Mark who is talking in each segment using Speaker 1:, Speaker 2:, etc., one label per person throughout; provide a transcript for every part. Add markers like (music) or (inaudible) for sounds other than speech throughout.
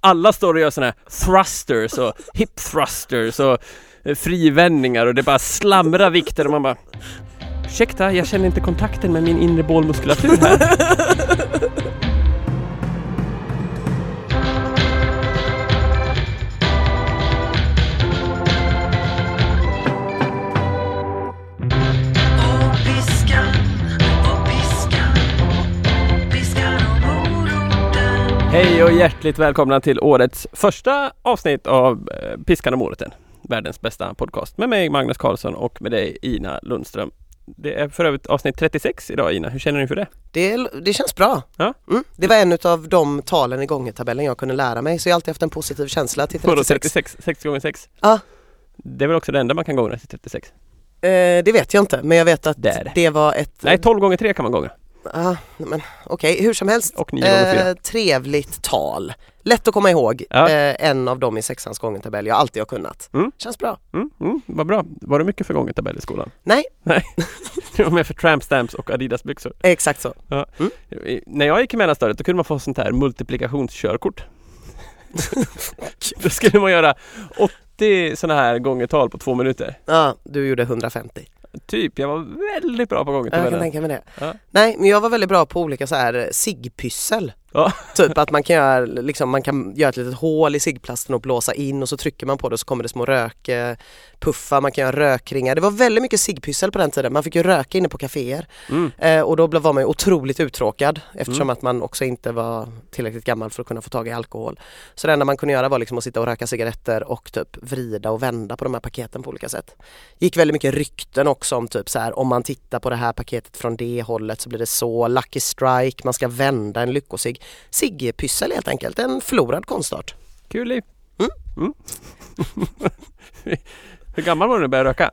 Speaker 1: alla står och gör sådana här thrusters och hip thrusters och eh, frivändningar och det bara slamrar vikter och man bara Ursäkta, jag känner inte kontakten med min inre bålmuskulatur här.
Speaker 2: Och piskan, och piskan, piskan och moroten.
Speaker 1: (laughs) Hej och hjärtligt välkomna till årets första avsnitt av eh, Piskan och moroten. Världens bästa podcast med mig Magnus Karlsson och med dig Ina Lundström. Det är för övrigt avsnitt 36 idag Ina, hur känner du inför det?
Speaker 3: Det, det känns bra.
Speaker 1: Ja.
Speaker 3: Mm. Det var en av de talen i gångertabellen jag kunde lära mig så jag har alltid haft en positiv känsla till
Speaker 1: Vadå
Speaker 3: 36.
Speaker 1: 36? 60 gånger 6?
Speaker 3: Ja.
Speaker 1: Det är väl också det enda man kan gångra till 36?
Speaker 3: Eh, det vet jag inte men jag vet att
Speaker 1: Där.
Speaker 3: det var ett...
Speaker 1: Nej, 12 gånger 3 kan man gångra.
Speaker 3: Ah, men Okej, hur som helst.
Speaker 1: Och 9 gånger 4.
Speaker 3: Eh, trevligt tal. Lätt att komma ihåg.
Speaker 1: Ja.
Speaker 3: Eh, en av dem i sexans gångertabell jag alltid har kunnat.
Speaker 1: Mm.
Speaker 3: Känns bra.
Speaker 1: Mm, mm, vad bra. Var det mycket för gången tabell i skolan?
Speaker 3: Nej.
Speaker 1: Nej. (laughs) Det var mer för tramp stamps och Adidas byxor.
Speaker 3: Exakt så.
Speaker 1: I- När jag gick i mellanstadiet då kunde man få sånt här (laughs) multiplikationskörkort. då skulle man göra 80 sådana här gångertal på två minuter.
Speaker 3: Ja, du gjorde 150.
Speaker 1: Typ, jag var väldigt bra på
Speaker 3: Ja, Jag kan
Speaker 1: gångertabellen.
Speaker 3: tänka mig det.
Speaker 1: Ja.
Speaker 3: Nej, men jag var väldigt bra på olika så här sigpyssel.
Speaker 1: Ja.
Speaker 3: (laughs) Typ att man kan, göra, liksom, man kan göra ett litet hål i sigplasten och blåsa in och så trycker man på det och så kommer det små rökpuffar, man kan göra rökringar. Det var väldigt mycket sigpyssel på den tiden. Man fick ju röka inne på kaféer
Speaker 1: Mm.
Speaker 3: eh, och då blev- var man ju otroligt uttråkad eftersom
Speaker 1: Mm.
Speaker 3: att man också inte var tillräckligt gammal för att kunna få tag i alkohol. Så det enda man kunde göra var liksom att sitta och röka cigaretter och typ vrida och vända på de här paketen på olika sätt gick väldigt mycket rykten också om typ så här om man tittar på det här paketet från det hållet så blir det så, Lucky Strike, man ska vända en lyckosig Sigge-pyssel helt enkelt, en förlorad konstart. (laughs)
Speaker 1: Kul liv.
Speaker 3: Mm.
Speaker 1: Mm. (laughs) Hur gammal var du när du började röka?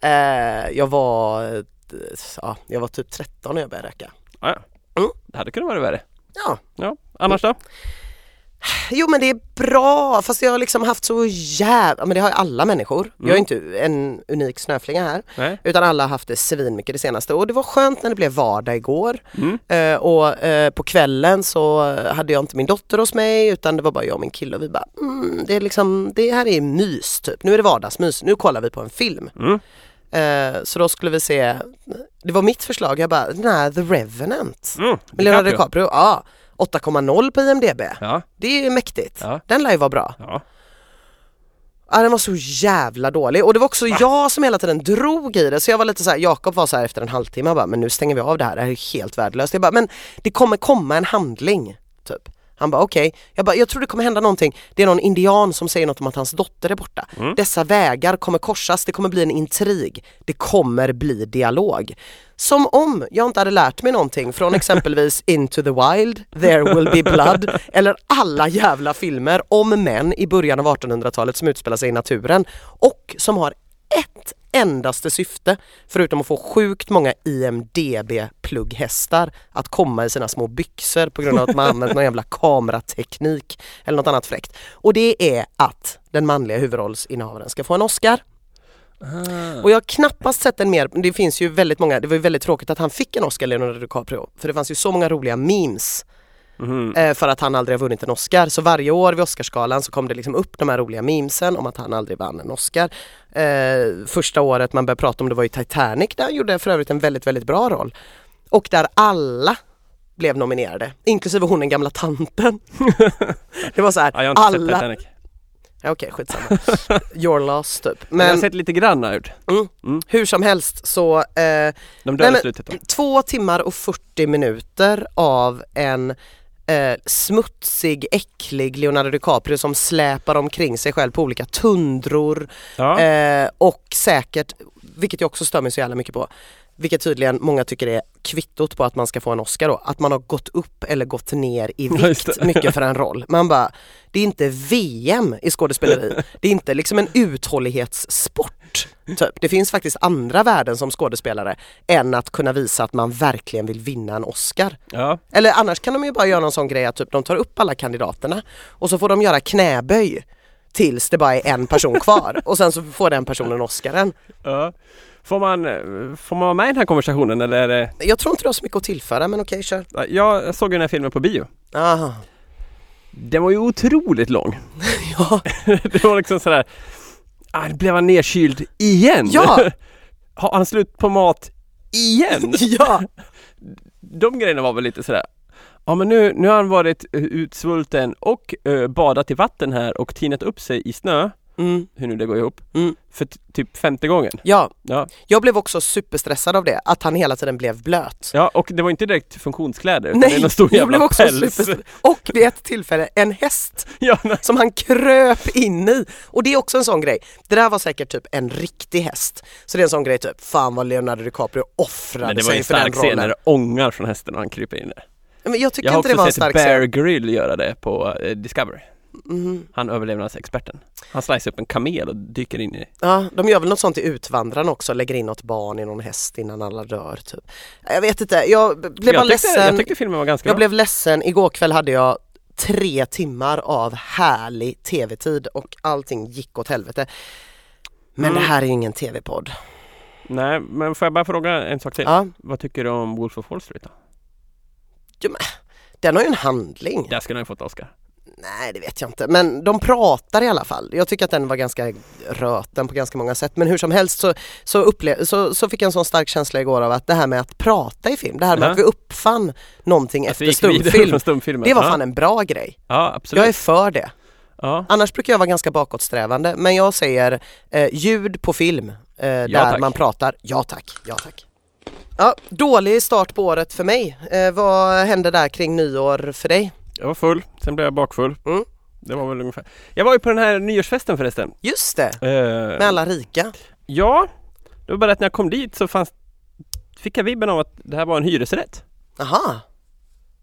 Speaker 3: Eh, jag var, eh, ja, jag var typ 13 när jag började röka.
Speaker 1: Ah, ja.
Speaker 3: Mm.
Speaker 1: Det hade kunnat vara värre.
Speaker 3: Ja,
Speaker 1: Ja, annars då?
Speaker 3: jo men det är bra fast jag har liksom haft så jävla, men det har ju alla människor. Jag är
Speaker 1: Mm.
Speaker 3: inte en unik snöflinga här
Speaker 1: Nej.
Speaker 3: utan alla har haft det svinmycket det senaste och det var skönt när det blev vardag igår.
Speaker 1: Mm.
Speaker 3: Eh, och eh, på kvällen så hade jag inte min dotter hos mig utan det var bara jag och min kille och vi bara mm, det är liksom, det här är mys typ. Nu är det vardagsmys, nu kollar vi på en film.
Speaker 1: Mm.
Speaker 3: Eh, så då skulle vi se, det var mitt förslag, jag bara den här The Revenant
Speaker 1: Mm.
Speaker 3: med Leonardo
Speaker 1: DiCaprio.
Speaker 3: DiCaprio, ja 8,0 på IMDB.
Speaker 1: Ja,
Speaker 3: Det är mäktigt.
Speaker 1: Ja.
Speaker 3: Den lär ju vara bra.
Speaker 1: ja.
Speaker 3: Ja den var så jävla dålig och det var också jag som hela tiden drog i det så jag var lite så här, Jakob var så här efter en halvtimme bara men nu stänger vi av det här, det här är helt värdelöst. Jag bara men det kommer komma en handling typ. Han bara okej, jag bara jag tror det kommer hända någonting. Det är någon indian som säger något om att hans dotter är borta. Dessa vägar kommer korsas, det kommer bli en intrig. Det kommer bli dialog. Som om jag inte hade lärt mig någonting från exempelvis Into the Wild, There Will Be Blood eller alla jävla filmer om män i början av 1800-talet som utspelar sig i naturen och som har ett endaste syfte förutom att få sjukt många IMDB-plugghästar att komma i sina små byxor på grund av att man använt någon jävla kamerateknik eller något annat fräckt. Och det är att den manliga huvudrollsinnehavaren ska få en Oscar.
Speaker 1: Ah.
Speaker 3: Och jag har knappast sett en mer, det finns ju väldigt många, det var ju väldigt tråkigt att han fick en Oscar Leonardo DiCaprio för det fanns ju så många roliga memes
Speaker 1: Mhm.
Speaker 3: eh, för att han aldrig har vunnit en Oscar. Så varje år vid Oscarsgalan så kom det liksom upp de här roliga memesen om att han aldrig vann en Oscar. Eh, första året man började prata om det var ju Titanic där han gjorde för övrigt en väldigt, väldigt bra roll. Och där alla blev nominerade, inklusive hon den gamla tanten. (laughs) det var så här,
Speaker 1: Ja, jag har inte sett
Speaker 3: alla...
Speaker 1: Titanic.
Speaker 3: Ja, Okej, skitsamma. Your loss typ.
Speaker 1: Men... Jag har
Speaker 3: Men
Speaker 1: sett lite grann har jag gjort.
Speaker 3: hur som helst så eh,
Speaker 1: De dör
Speaker 3: Nej,
Speaker 1: i
Speaker 3: men-
Speaker 1: slutet då.
Speaker 3: Typ Två timmar och 40 minuter av en eh, smutsig, äcklig Leonardo DiCaprio som släpar omkring sig själv på olika tundror
Speaker 1: Ja.
Speaker 3: eh, och säkert, vilket jag också stör mig så jävla mycket på, vilket tydligen många tycker är kvittot på att man ska få en Oscar då, att man har gått upp eller gått ner
Speaker 1: (laughs)
Speaker 3: i
Speaker 1: Ja, just
Speaker 3: vikt mycket för en roll. Man bara, det är inte VM i skådespeleri, det är inte liksom en uthållighetssport. Typ. Det finns faktiskt andra värden som skådespelare än att kunna visa att man verkligen vill vinna en Oscar.
Speaker 1: ja.
Speaker 3: Eller annars kan de ju bara göra någon sån grej att typ de tar upp alla kandidaterna och så får de göra knäböj tills det bara är
Speaker 1: (laughs)
Speaker 3: en person kvar och sen så får den personen Oscaren.
Speaker 1: ja. Får, man, eh, får man vara med i den här konversationen eller är det...
Speaker 3: Jag tror inte du har så mycket att tillföra men okej kör.
Speaker 1: Jag såg ju den här filmen på bio.
Speaker 3: Aha.
Speaker 1: Den var ju otroligt lång.
Speaker 3: (laughs) Ja.
Speaker 1: (laughs) det var liksom sådär, ah, blev han nedkyld igen?
Speaker 3: Ja.
Speaker 1: (laughs) Har han slut på mat (laughs) igen?
Speaker 3: ja,
Speaker 1: De grejerna var väl lite sådär, ja men nu, nu har han varit eh, utsvulten och eh, badat i vatten här och tinat upp sig i snö,
Speaker 3: mm,
Speaker 1: hur nu det går ihop,
Speaker 3: Mm.
Speaker 1: för t- typ femte gången.
Speaker 3: ja.
Speaker 1: Ja.
Speaker 3: Jag blev också superstressad av det, att han hela tiden blev blöt.
Speaker 1: ja, och det var inte direkt funktionskläder utan det är
Speaker 3: Nej,
Speaker 1: någon stor
Speaker 3: jag blev
Speaker 1: jävla
Speaker 3: också
Speaker 1: päls.
Speaker 3: superstressad. Och vid ett tillfälle en häst
Speaker 1: (laughs) Ja, nej.
Speaker 3: som han kröp in i. Och det är också en sån grej. Det där var säkert typ en riktig häst. Så det är en sån grej typ, fan vad Leonardo DiCaprio offrade
Speaker 1: Men det var ju
Speaker 3: sig
Speaker 1: en
Speaker 3: för den
Speaker 1: stark
Speaker 3: rollen.
Speaker 1: scen när det ångar från hästen och han kryper in där.
Speaker 3: Men jag tycker
Speaker 1: Jag har
Speaker 3: inte det var
Speaker 1: också
Speaker 3: en
Speaker 1: sett
Speaker 3: stark
Speaker 1: Bear
Speaker 3: scen.
Speaker 1: Grill göra det på eh, Discovery.
Speaker 3: Mhm.
Speaker 1: Han överlevnadsexperten. Han slicear upp en kamel och dyker in i...
Speaker 3: Ja, de gör väl något sånt i Utvandrarna också, lägger in något barn i någon häst innan alla dör typ. Jag vet inte, jag b- blev bara
Speaker 1: jag, tyckte,
Speaker 3: ledsen.
Speaker 1: jag tyckte filmen var ganska
Speaker 3: Jag
Speaker 1: bra.
Speaker 3: blev ledsen, igår kväll hade jag tre timmar av härlig tv-tid och allting gick åt helvete. Men
Speaker 1: Mm.
Speaker 3: det här är ju ingen tv-podd.
Speaker 1: Nej, men får jag bara fråga en sak till?
Speaker 3: Ja,
Speaker 1: Vad tycker du om Wolf of Wall Street då?
Speaker 3: den har ju en handling.
Speaker 1: Där skulle han ju fått Oscar.
Speaker 3: Nej det vet jag inte, men de pratar i alla fall. Jag tycker att den var ganska röten på ganska många sätt men hur som helst så, så, upple- så, så fick jag en sån stark känsla igår av att det här med att prata i film, det här med
Speaker 1: Ja.
Speaker 3: att vi uppfann någonting
Speaker 1: Alltså
Speaker 3: efter
Speaker 1: gick vidare
Speaker 3: stumfilm.
Speaker 1: från stumfilmen.
Speaker 3: Det var
Speaker 1: ja.
Speaker 3: fan en bra grej.
Speaker 1: Ja, absolut.
Speaker 3: Jag är för det.
Speaker 1: Ja.
Speaker 3: Annars brukar jag vara ganska bakåtsträvande men jag säger eh, ljud på film eh, där
Speaker 1: tack.
Speaker 3: man pratar. Ja tack, ja tack. Ja, dålig start på året för mig. Eh, vad hände där kring nyår för dig?
Speaker 1: Jag var full, sen blev jag bakfull.
Speaker 3: Mm.
Speaker 1: Det var väl ungefär. Jag var ju på den här nyårsfesten förresten.
Speaker 3: Just det,
Speaker 1: Eh,
Speaker 3: med alla rika.
Speaker 1: Ja, det var bara att när jag kom dit så fanns, fick jag vibben av att det här var en hyresrätt.
Speaker 3: Aha.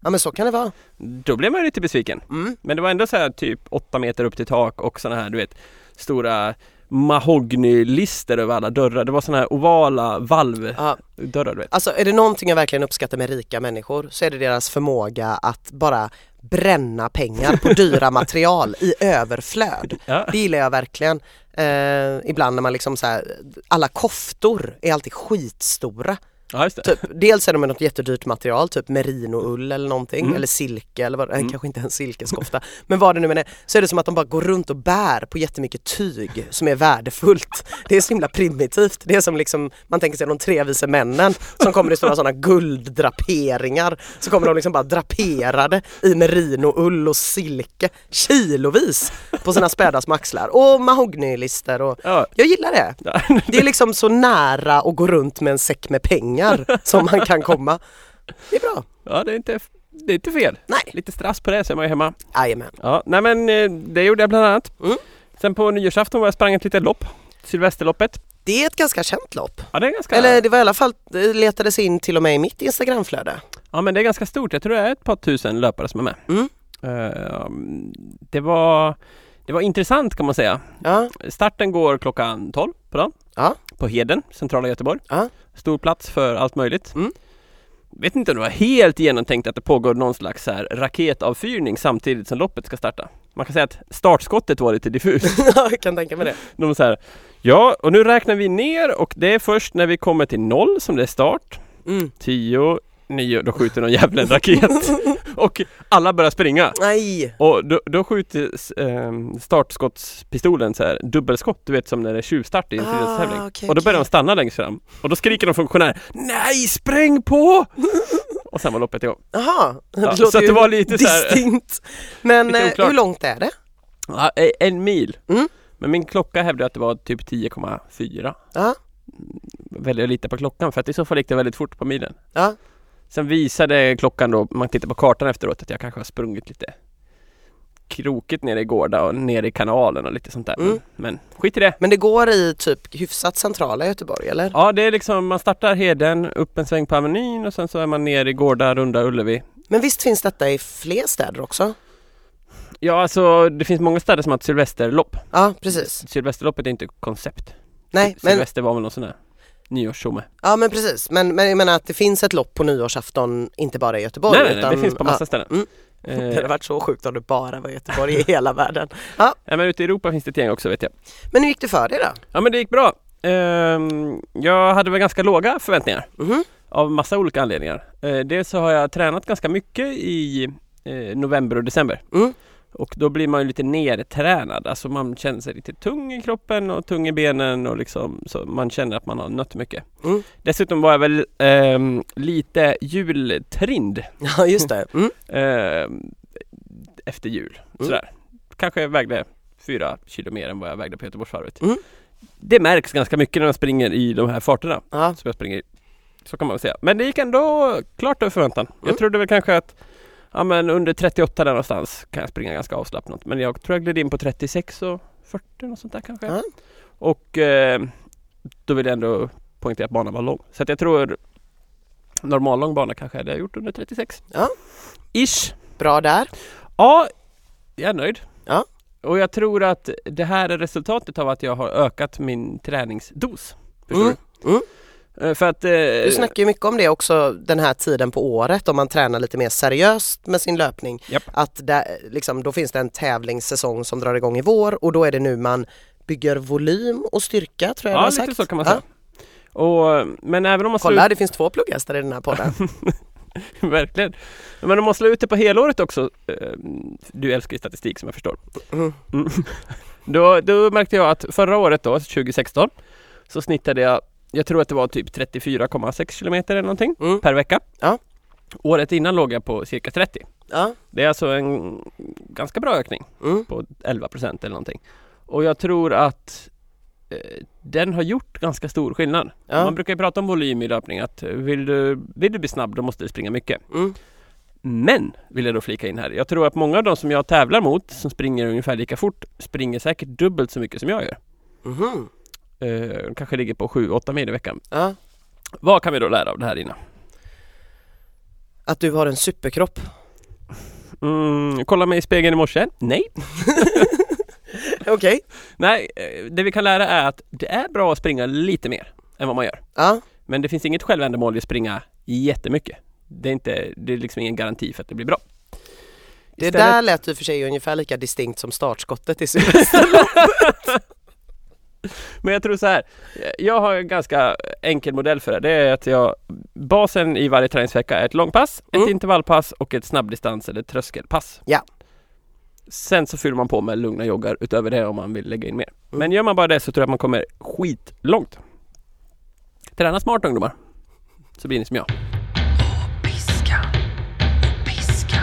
Speaker 3: Ja men så kan det vara.
Speaker 1: Då blev man ju lite besviken.
Speaker 3: Mm.
Speaker 1: Men det var ändå så här typ 8 meter upp till tak och sådana här du vet stora mahognylister över alla dörrar. Det var sådana här ovala valvdörrar
Speaker 3: Ja,
Speaker 1: du vet.
Speaker 3: alltså är det någonting jag verkligen uppskattar med rika människor så är det deras förmåga att bara bränna pengar på (laughs) dyra material i överflöd.
Speaker 1: Ja.
Speaker 3: Det gillar jag verkligen. Eh, ibland när man liksom så här, alla koftor är alltid skitstora.
Speaker 1: ja, just det.
Speaker 3: Typ, dels är de med något jättedyrt material, typ merinoull eller någonting,
Speaker 1: Mm.
Speaker 3: eller silke eller vad, mm. kanske inte en silkeskofta, men vad det nu än är, så är det som att de bara går runt och bär på jättemycket tyg som är värdefullt. Det är så himla primitivt. Det är som liksom, man tänker sig de tre vise männen som kommer i stora sådana gulddraperingar, så kommer de liksom bara draperade i merinoull och silke, kilovis på sina späda små axlar och mahognylister och
Speaker 1: Ja.
Speaker 3: jag gillar det.
Speaker 1: Ja. (laughs)
Speaker 3: Det är liksom så nära att gå runt med en säck med pengar som man kan komma. Det är bra.
Speaker 1: ja, det är inte det är inte fel.
Speaker 3: Nej.
Speaker 1: Lite strass på det så är man ju hemma.
Speaker 3: Jajamän.
Speaker 1: Ja, nej men eh, det gjorde jag bland annat.
Speaker 3: Mm.
Speaker 1: Sen på nyårsafton var jag sprang ett litet lopp. Sylvesterloppet.
Speaker 3: Det är ett ganska känt lopp.
Speaker 1: Ja, det är ganska...
Speaker 3: Eller det var i alla fall, det letades in till och med i mitt Instagramflöde.
Speaker 1: Ja men det är ganska stort. Jag tror det är ett par tusen löpare som är med.
Speaker 3: Mm.
Speaker 1: Eh, det var Det var intressant kan man säga.
Speaker 3: Ja,
Speaker 1: Starten går klockan 12 på dagen.
Speaker 3: Ja. (laughs)
Speaker 1: På Heden, centrala Göteborg.
Speaker 3: Ja.
Speaker 1: Stor plats för allt möjligt.
Speaker 3: Mm.
Speaker 1: Vet inte om det var helt genomtänkt att det pågår någon slags så här raketavfyrning samtidigt som loppet ska starta. Man kan säga att startskottet var lite diffust.
Speaker 3: (laughs) jag kan tänka mig det.
Speaker 1: De så här, ja, och nu räknar vi ner och det är först när vi kommer till noll som det är start.
Speaker 3: Mm.
Speaker 1: 10, 9, då skjuter någon
Speaker 3: (laughs)
Speaker 1: jävla en raket. och alla börjar springa.
Speaker 3: Nej,
Speaker 1: Och då, då skjuter ehm, startskottspistolen så här dubbelskott, du vet som när det är tjuvstart i en
Speaker 3: Ah,
Speaker 1: friidrottstävling.
Speaker 3: okej,
Speaker 1: och då börjar de
Speaker 3: okej.
Speaker 1: stanna längst fram. Och då skriker de funktionär Nej, spräng
Speaker 3: (laughs)
Speaker 1: på! och sen var loppet igång.
Speaker 3: jaha. Det
Speaker 1: Ja,
Speaker 3: låter
Speaker 1: så att det
Speaker 3: ju
Speaker 1: var lite så här-
Speaker 3: distinkt. Men
Speaker 1: Lite
Speaker 3: eh,
Speaker 1: oklart.
Speaker 3: hur långt är det?
Speaker 1: Ja, e- en mil.
Speaker 3: Mm.
Speaker 1: Men min klocka hävdade att det var typ 10,4.
Speaker 3: Ja.
Speaker 1: Väljer att lita på klockan för att i så fall gick det väldigt fort på milen.
Speaker 3: Ja.
Speaker 1: Sen visade klockan då, man tittar på kartan efteråt, att jag kanske har sprungit lite krokigt nere i Gårda och nere i kanalen och lite sånt där.
Speaker 3: Mm.
Speaker 1: Men, men skit i det.
Speaker 3: Men det går i typ hyfsat centrala Göteborg eller?
Speaker 1: Ja, det är liksom, man startar Heden, upp en sväng på Avenyn och sen så är man ner i Gårda, Runda, Ullevi.
Speaker 3: Men visst finns detta i fler städer också?
Speaker 1: Ja, alltså det finns många städer som har ett Sylvesterlopp.
Speaker 3: Ja, precis.
Speaker 1: Sylvesterloppet är inte ett koncept.
Speaker 3: Nej, men
Speaker 1: Sylvester var väl någon sån där nyårssomme.
Speaker 3: Ja men precis, men, men jag menar att det finns ett lopp på nyårsafton, inte bara i Göteborg.
Speaker 1: Nej, nej, nej,
Speaker 3: utan,
Speaker 1: det finns på massa ställen.
Speaker 3: Mm. Ja, (laughs) det
Speaker 1: Eh,
Speaker 3: hade varit så sjukt om det bara var Göteborg (laughs) i hela världen. Ja,
Speaker 1: nej, men ute i Europa finns det ett gäng också vet jag.
Speaker 3: men hur gick det för dig då?
Speaker 1: Ja, men det gick bra. Ehm, jag hade väl ganska låga förväntningar
Speaker 3: Mhm.
Speaker 1: av massa olika anledningar. Eh, dels så har jag tränat ganska mycket i eh, november och december.
Speaker 3: Mm.
Speaker 1: Och då blir man ju lite nedtränad, alltså man känner sig lite tung i kroppen och tung i benen och liksom så man känner att man har nött mycket.
Speaker 3: Mm.
Speaker 1: Dessutom var jag väl ehm, lite jultrind
Speaker 3: Ja just det. Mm.
Speaker 1: ehm, efter jul.
Speaker 3: Mm.
Speaker 1: Sådär. Kanske jag vägde fyra kilo mer än vad jag vägde på Göteborgsvarvet.
Speaker 3: Mm.
Speaker 1: Det märks ganska mycket när man springer i de här farterna
Speaker 3: Ja.
Speaker 1: som jag springer i. Så kan man väl säga. Men det gick ändå klart över förväntan.
Speaker 3: Mm.
Speaker 1: Jag trodde väl kanske att ja, men under 38 där någonstans kan jag springa ganska avslappnat. Men jag tror jag gled in på 36 och 40 och sånt där kanske.
Speaker 3: Ja.
Speaker 1: Och eh, då vill jag ändå poängtera att banan var lång. Så att jag tror normal lång bana kanske hade jag gjort under 36.
Speaker 3: Ja.
Speaker 1: Ish.
Speaker 3: Bra där.
Speaker 1: Ja, jag är nöjd.
Speaker 3: Ja.
Speaker 1: Och jag tror att det här är resultatet av att jag har ökat min träningsdos. Förstår
Speaker 3: Mm,
Speaker 1: du?
Speaker 3: mm.
Speaker 1: Eh, För att... eh,
Speaker 3: Du snackar ju mycket om det också den här tiden på året om man tränar lite mer seriöst med sin löpning.
Speaker 1: Japp.
Speaker 3: Att där, liksom, då finns det en tävlingssäsong som drar igång i vår och då är det nu man bygger volym och styrka tror jag du
Speaker 1: Ja,
Speaker 3: har
Speaker 1: lite
Speaker 3: sagt.
Speaker 1: så kan man
Speaker 3: Ja.
Speaker 1: säga. Och, men även om man slår
Speaker 3: Kolla, det finns två plugghästar i den
Speaker 1: (laughs)
Speaker 3: här podden.
Speaker 1: ut, (laughs) verkligen. Men om man slår ut det på helåret också, eh, du älskar ju statistik som jag förstår.
Speaker 3: Mm.
Speaker 1: Mm. (laughs) Då, då märkte jag att förra året då, 2016, så snittade jag, jag tror att det var typ 34,6 kilometer eller någonting
Speaker 3: Mm.
Speaker 1: per vecka.
Speaker 3: Ja.
Speaker 1: Året innan låg jag på cirka 30.
Speaker 3: Ja.
Speaker 1: Det är alltså en ganska bra ökning
Speaker 3: Mm.
Speaker 1: på 11 procent eller någonting. Och jag tror att eh, den har gjort ganska stor skillnad.
Speaker 3: Ja.
Speaker 1: Man brukar ju prata om volym i löpning att eh, vill du, vill du bli snabb då måste du springa mycket.
Speaker 3: Mm.
Speaker 1: Men, vill jag då flika in här, jag tror att många av de som jag tävlar mot som springer ungefär lika fort springer säkert dubbelt så mycket som jag gör.
Speaker 3: Mhm.
Speaker 1: Eh, de kanske ligger på 7-8 mil i veckan.
Speaker 3: Ja.
Speaker 1: Vad kan vi då lära av det här Ina?
Speaker 3: Att du har en superkropp.
Speaker 1: Mm, kolla mig i spegeln i morse? Nej. (laughs)
Speaker 3: Okej.
Speaker 1: Nej, eh, det vi kan lära är att det är bra att springa lite mer än vad man gör.
Speaker 3: Ja.
Speaker 1: Men det finns inget självändamål i att springa jättemycket. Det är, inte, det är liksom ingen garanti för att det blir bra.
Speaker 3: Det
Speaker 1: Istället-
Speaker 3: där lät ju för sig ungefär lika distinkt som startskottet i Sylvester.
Speaker 1: Men jag tror så här. Jag har en ganska enkel modell för det. Det är att jag, basen i varje träningsvecka är ett långpass, ett
Speaker 3: Mm.
Speaker 1: intervallpass och ett snabbdistans eller tröskelpass.
Speaker 3: Ja.
Speaker 1: Sen så fyller man på med lugna joggar utöver det om man vill lägga in mer.
Speaker 3: Mm.
Speaker 1: Men gör man bara det så tror jag att man kommer skitlångt. Träna smart ungdomar. Så blir ni som jag.
Speaker 2: Piska och piska,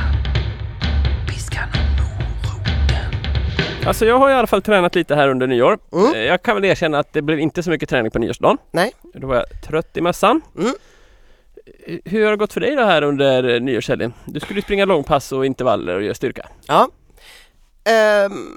Speaker 2: piska och moroten.
Speaker 1: Alltså jag har i alla fall tränat lite här under nyår.
Speaker 3: Mm.
Speaker 1: Eh, Jag kan väl erkänna att det blev inte så mycket träning på nyårsdagen.
Speaker 3: Nej.
Speaker 1: Då var jag trött i mössan.
Speaker 3: Mm.
Speaker 1: Eh, Hur har det gått för dig då här under eh, nyårshelgen? Du skulle ju springa långpass och intervaller och göra styrka.
Speaker 3: Ja. Ehm,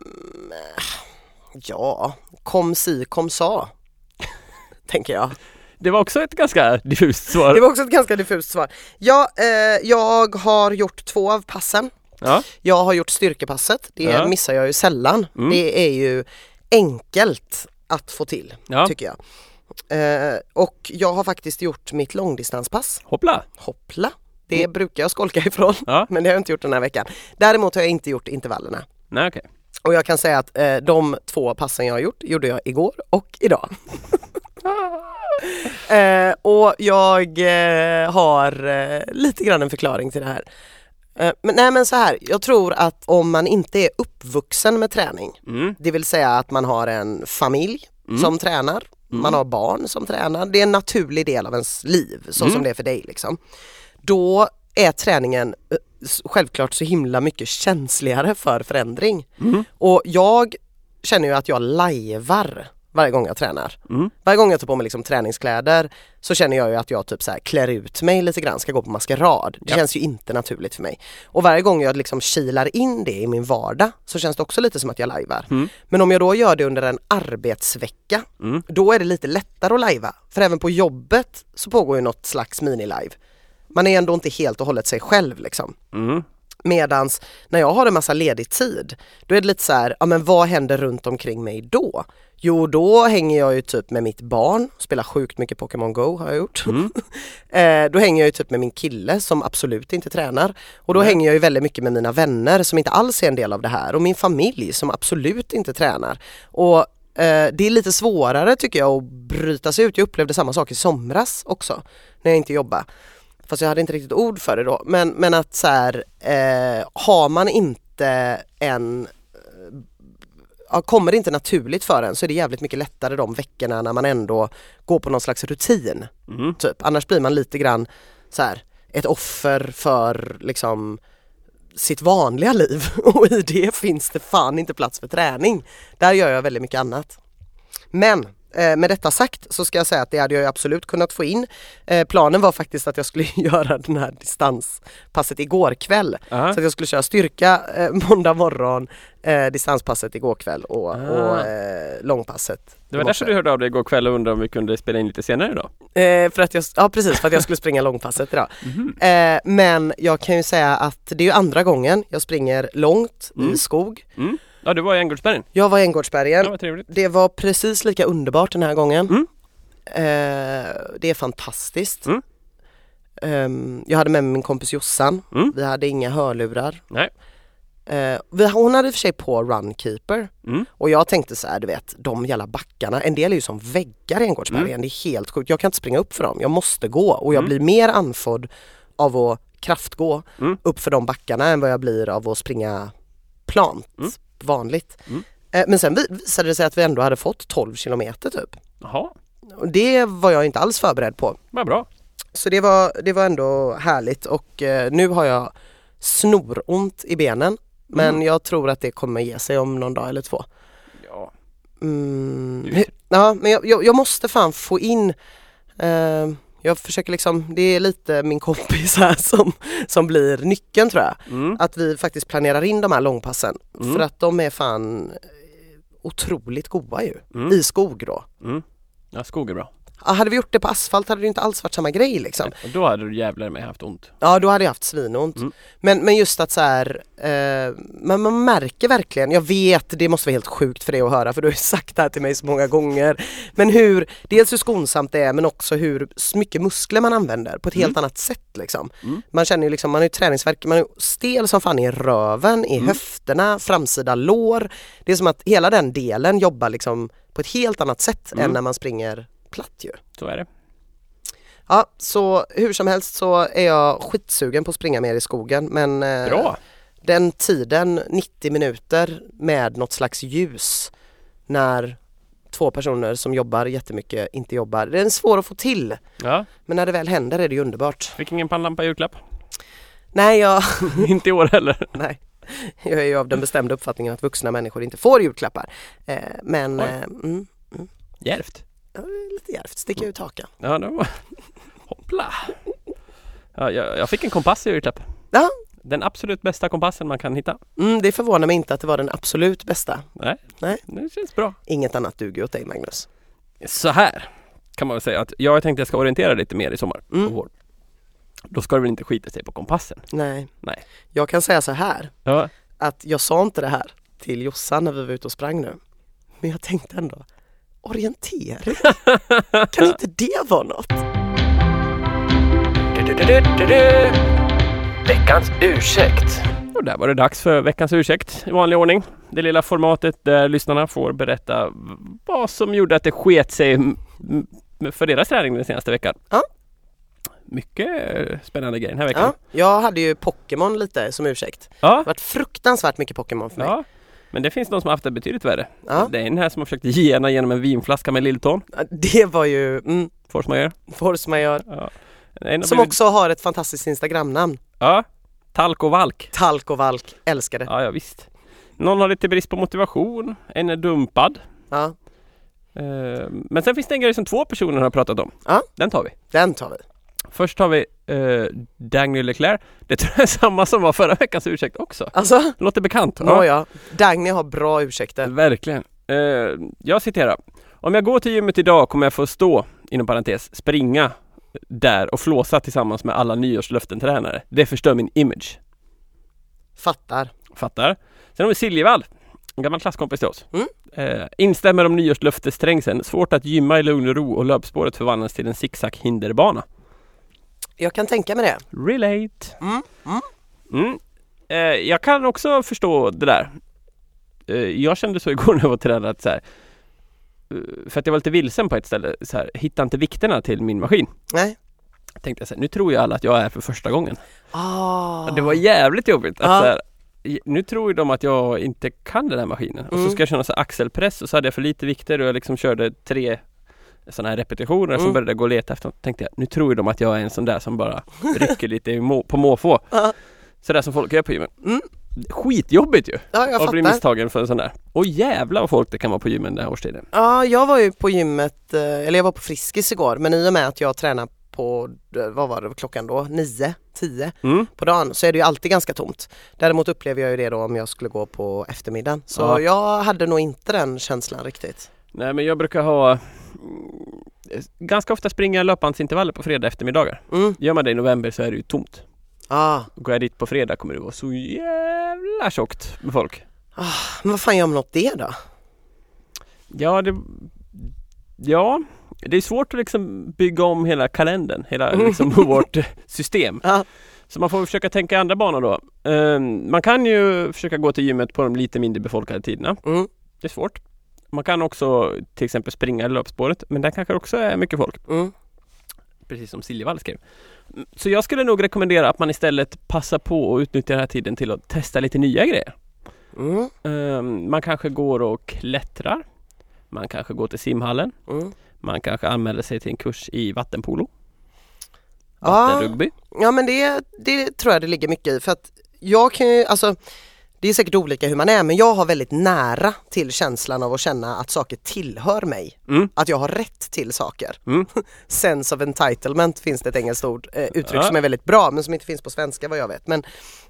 Speaker 3: ja, kom si kom sa. (laughs) Tänker jag.
Speaker 1: Det var också ett ganska (laughs) diffust svar.
Speaker 3: Det var också ett ganska diffust svar. Ja, eh, jag har gjort två av passen.
Speaker 1: Ja.
Speaker 3: Jag har gjort styrkepasset, det
Speaker 1: Ja. Mm.
Speaker 3: missar jag ju sällan. Det är ju enkelt att få till,
Speaker 1: Ja.
Speaker 3: tycker jag. Eh, och jag har faktiskt gjort mitt långdistanspass,
Speaker 1: Hoppla!
Speaker 3: hoppla. Det brukar jag skolka (laughs) ifrån,
Speaker 1: Mm. Ja.
Speaker 3: men det har jag inte gjort den här veckan. Däremot har jag inte gjort intervallerna.
Speaker 1: Nej okej.
Speaker 3: Och jag kan säga att eh, de två passen jag har gjort gjorde jag igår och
Speaker 1: (laughs)
Speaker 3: idag. eh, och jag eh, har eh, lite grann en förklaring till det här. Eh, men, nej men så här, jag tror att om man inte är uppvuxen med träning,
Speaker 1: Mm.
Speaker 3: det vill säga att man har en familj som tränar, man har barn som tränar, det är en naturlig del av ens liv så som det är för dig liksom. Då är träningen eh, s- självklart så himla mycket känsligare för förändring. Och jag känner ju att jag lajvar varje gång jag tränar. Varje gång jag tar på mig liksom träningskläder så känner jag ju att jag typ så här klär ut mig lite grann, ska gå på maskerad. Det
Speaker 1: Ja.
Speaker 3: känns ju inte naturligt för mig. Och varje gång jag liksom kilar in det i min vardag så känns det också lite som att jag lajvar. Men om jag då gör det under en arbetsvecka, då är det lite lättare att lajva. För även på jobbet så pågår ju något slags mini-live. Man är ändå inte helt och hållet sig själv liksom. Medans när jag har en massa ledig tid, då är det lite så här, ja men vad händer runt omkring mig då? Jo, då hänger jag ju typ med mitt barn, spelar sjukt mycket Pokémon Go har jag gjort. (laughs) eh, då hänger jag ju typ med min kille som absolut inte tränar. Och då hänger jag ju väldigt mycket med mina vänner som inte alls är en del av det här och min familj som absolut inte tränar. Och eh, det är lite svårare tycker jag att bryta sig ut. Jag upplevde samma sak i somras också när jag inte jobbade. Fast jag hade inte riktigt ord för det då. Men, men att så här, eh, har man inte inte en eh, Ja, kommer det inte naturligt för en så är det jävligt mycket lättare de veckorna när man ändå går på någon slags rutin.
Speaker 1: Mm.
Speaker 3: Typ. Annars blir man lite grann så här, ett offer för liksom sitt vanliga liv (laughs) och i det finns det fan inte plats för träning. Där gör jag väldigt mycket annat. Men eh, med detta sagt så ska jag säga att det hade jag ju absolut kunnat få in. Eh, planen var faktiskt att jag skulle (laughs) göra den här distanspasset igår kväll.
Speaker 1: Aha.
Speaker 3: Så att jag skulle köra styrka eh, (laughs) måndag morgon, eh, distanspasset igår kväll och, och eh, långpasset.
Speaker 1: Ah. Det var
Speaker 3: i
Speaker 1: därför
Speaker 3: morse.
Speaker 1: du hörde av dig igår kväll och undrade om vi kunde spela in lite senare idag.
Speaker 3: Eh, för att jag, ja precis, för att jag
Speaker 1: (laughs)
Speaker 3: skulle springa långpasset idag.
Speaker 1: Mhm.
Speaker 3: Eh, men jag kan ju säga att det är ju andra gången jag springer långt i skog.
Speaker 1: Mm. Ja, du var i Änggårdsbergen.
Speaker 3: Jag var i
Speaker 1: Ja,
Speaker 3: Änggårdsbergen.
Speaker 1: vad trevligt.
Speaker 3: Det var precis lika underbart den här gången.
Speaker 1: Mm.
Speaker 3: Eh, det är fantastiskt.
Speaker 1: Mm.
Speaker 3: Ehm, jag hade med mig min kompis Jossan.
Speaker 1: Mm.
Speaker 3: Vi hade inga hörlurar.
Speaker 1: Nej.
Speaker 3: Eh, vi, hon hade i och för sig på Runkeeper
Speaker 1: Mm.
Speaker 3: och jag tänkte så här, du vet, de jävla backarna, en del är ju som väggar i Änggårdsbergen,
Speaker 1: Mm.
Speaker 3: det är helt sjukt. Jag kan inte springa upp för dem, jag måste gå och jag blir mer andfådd av att kraftgå
Speaker 1: Mm.
Speaker 3: upp för de backarna än vad jag blir av att springa plant,
Speaker 1: Mm.
Speaker 3: vanligt. Eh, Men sen vi- visade det sig att vi ändå hade fått 12 kilometer typ.
Speaker 1: Jaha,
Speaker 3: Och det var jag inte alls förberedd på.
Speaker 1: vad bra.
Speaker 3: Så det var, det var ändå härligt och eh, nu har jag snoront i benen. Men jag tror att det kommer ge sig om någon dag eller två.
Speaker 1: Ja.
Speaker 3: Mm. Ja, men jag, jag, jag måste fan få in eh, jag försöker liksom, det är lite min kompis här (laughs) som, som blir nyckeln tror jag.
Speaker 1: Mm.
Speaker 3: Att vi faktiskt planerar in de här långpassen för att de är fan eh, otroligt goda ju.
Speaker 1: Mm.
Speaker 3: I skog då.
Speaker 1: Mm. Ja, skog är bra.
Speaker 3: Ja, hade vi gjort det på asfalt hade det inte alls varit samma grej liksom.
Speaker 1: Och då hade du jävlar mig haft ont.
Speaker 3: Ja då hade jag haft svinont.
Speaker 1: Mm.
Speaker 3: Men, men just att så här, eh, man, man märker verkligen, jag vet det måste vara helt sjukt för dig att höra för du har ju sagt det här till mig så många gånger. Men hur, dels hur skonsamt det är men också hur s- mycket muskler man använder på ett helt annat sätt liksom.
Speaker 1: Mm.
Speaker 3: Man känner ju liksom, man har ju träningsvärk, man är ju stel som fan i röven, i
Speaker 1: Mm.
Speaker 3: höfterna, framsida lår. Det är som att hela den delen jobbar liksom på ett helt annat sätt
Speaker 1: Mm.
Speaker 3: än när man springer platt ju.
Speaker 1: Så är det.
Speaker 3: Ja, så hur som helst så är jag skitsugen på att springa mer i skogen men eh,
Speaker 1: Bra!
Speaker 3: den tiden, 90 minuter med något slags ljus när två personer som jobbar jättemycket inte jobbar. Den är svår att få till
Speaker 1: Ja.
Speaker 3: men när det väl händer är det ju underbart.
Speaker 1: Fick ingen pannlampa i julklapp. (laughs)
Speaker 3: Nej, jag, (laughs)
Speaker 1: Inte i år heller.
Speaker 3: nej. jag är ju av den bestämda uppfattningen att vuxna människor inte får julklappar. Eh, men
Speaker 1: Oj.
Speaker 3: eh, mm,
Speaker 1: Djärvt.
Speaker 3: ja, det är lite djärvt, sticka ut hakan.
Speaker 1: Ja, det var... Hoppla! Ja, jag, jag fick en kompass i julklapp.
Speaker 3: Ja.
Speaker 1: Den absolut bästa kompassen man kan hitta.
Speaker 3: Mm, det förvånar mig inte att det var den absolut bästa.
Speaker 1: Nej.
Speaker 3: Nej.
Speaker 1: Det känns bra.
Speaker 3: Inget annat duger åt dig Magnus.
Speaker 1: Så här kan man väl säga att jag tänkte jag ska orientera lite mer i sommar
Speaker 3: Mm.
Speaker 1: och vår. Då ska det väl inte skita sig på kompassen?
Speaker 3: Nej.
Speaker 1: Nej.
Speaker 3: Jag kan säga så här,
Speaker 1: Ja.
Speaker 3: att jag sa inte det här till Jossan när vi var ute och sprang nu. Men jag tänkte ändå, orientering? kan inte det vara något?
Speaker 1: Veckans ursäkt. Och där var det dags för veckans ursäkt i vanlig ordning. Det lilla formatet där lyssnarna får berätta v- vad som gjorde att det sket sig m- m- för deras träning den senaste veckan.
Speaker 3: Ja.
Speaker 1: Mycket eh, spännande grejer den här veckan.
Speaker 3: Ja, jag hade ju Pokémon lite som ursäkt. Det
Speaker 1: Ja.
Speaker 3: har varit fruktansvärt mycket Pokémon för mig.
Speaker 1: ja. Men det finns de som har haft det betydligt värre.
Speaker 3: Ja.
Speaker 1: Det är en här som har försökt gena genom en vinflaska med Lilton.
Speaker 3: Det var ju mm,
Speaker 1: Force majeure.
Speaker 3: Force Major.
Speaker 1: Ja. En har
Speaker 3: Som
Speaker 1: blivit-
Speaker 3: också har ett fantastiskt Instagramnamn.
Speaker 1: Ja, talk och valk.
Speaker 3: Talk och Valk, älskar det.
Speaker 1: Ja, ja visst. Någon har lite brist på motivation, en är dumpad.
Speaker 3: Ja,
Speaker 1: Eh, Men sen finns det en grej som två personer har pratat om.
Speaker 3: Ja.
Speaker 1: Den tar vi.
Speaker 3: den tar vi.
Speaker 1: Först har vi eh, Daniel Leclerc. Det tror jag är samma som var förra veckans ursäkt också.
Speaker 3: Alltså,
Speaker 1: Det låter bekant.
Speaker 3: nåja. Dagny har bra ursäkter.
Speaker 1: Verkligen. Eh, jag citerar. Om jag går till gymmet idag kommer jag få stå, inom parentes, springa där och flåsa tillsammans med alla nyårslöften-tränare. Det förstör min image.
Speaker 3: Fattar.
Speaker 1: Fattar. Sen har vi Siljevall, en gammal klasskompis till oss.
Speaker 3: Mm.
Speaker 1: Eh, instämmer om nyårslöftesträngseln. Svårt att gymma i lugn och ro och löpspåret förvandlas till en zigzag hinderbana.
Speaker 3: Jag kan tänka mig det.
Speaker 1: Relate.
Speaker 3: Mm, mm.
Speaker 1: Mm. Eh, jag kan också förstå det där. Eh, jag kände så (laughs) igår när jag var tränad att så här, eh, för att jag var lite vilsen på ett ställe, så här, hittade inte vikterna till min maskin.
Speaker 3: Nej.
Speaker 1: Tänkte jag så här, nu tror ju alla att jag är för första gången.
Speaker 3: Ah.
Speaker 1: Det var jävligt jobbigt att
Speaker 3: Ja.
Speaker 1: så här, nu tror ju de att jag inte kan den här maskinen. Och så
Speaker 3: Mm.
Speaker 1: ska jag köra så här axelpress och så hade jag för lite vikter och jag liksom körde tre sådana här repetitioner som
Speaker 3: Mm.
Speaker 1: började gå och leta efter något. tänkte jag, nu tror ju de att jag är en sån där som
Speaker 3: (laughs)
Speaker 1: bara rycker lite i må, på måfå.
Speaker 3: Ja.
Speaker 1: Sådär som folk gör på gymmen.
Speaker 3: Mm.
Speaker 1: Skitjobbigt ju!
Speaker 3: Ja, jag
Speaker 1: Att bli
Speaker 3: fattar.
Speaker 1: misstagen för en sån där. Och jävla vad folk det kan vara på gymmen den här årstiden.
Speaker 3: Ja, jag var ju på gymmet, eh, eller jag var på Friskis igår, men i och med att jag tränar på, eh, vad var det klockan då, nio, tio
Speaker 1: Mm.
Speaker 3: på dagen så är det ju alltid ganska tomt. Däremot upplever jag ju det då om jag skulle gå på eftermiddagen. Så
Speaker 1: Ja.
Speaker 3: jag hade nog inte den känslan riktigt.
Speaker 1: Nej men jag brukar ha mm, eh, Ganska ofta springa löpbandsintervaller på fredag eftermiddagar.
Speaker 3: Mm.
Speaker 1: Gör man det i november så är det ju tomt.
Speaker 3: Ah.
Speaker 1: Går jag dit på fredag kommer det vara så jävla tjockt med folk.
Speaker 3: Men vad fan gör man åt det då?
Speaker 1: Ja, det... Ja, det är svårt att liksom bygga om hela kalendern, hela liksom vårt system.
Speaker 3: Ja.
Speaker 1: Så man får försöka tänka i andra banor då. Ehm, man kan ju försöka gå till gymmet på de lite mindre befolkade tiderna.
Speaker 3: Mm.
Speaker 1: Det är svårt. Man kan också till exempel springa i löpspåret, men där kanske också är mycket folk.
Speaker 3: Mm.
Speaker 1: Precis som Siljevall skrev. Mm, Så jag skulle nog rekommendera att man istället passar på och utnyttjar den här tiden till att testa lite nya grejer.
Speaker 3: Mm.
Speaker 1: Ehm, man kanske går och klättrar. Man kanske går till simhallen.
Speaker 3: Mm.
Speaker 1: Man kanske anmäler sig till en kurs i vattenpolo,
Speaker 3: Ja.
Speaker 1: vattenrugby.
Speaker 3: Ja men det, det tror jag det ligger mycket i för att jag kan ju, alltså det är säkert olika hur man är men jag har väldigt nära till känslan av att känna att saker tillhör mig.
Speaker 1: Mm.
Speaker 3: Att jag har rätt till saker.
Speaker 1: Mm.
Speaker 3: (laughs) Sense of entitlement finns det ett engelskt ord, eh, uttryck
Speaker 1: Ja.
Speaker 3: som är väldigt bra men som inte finns på svenska vad jag vet. Men,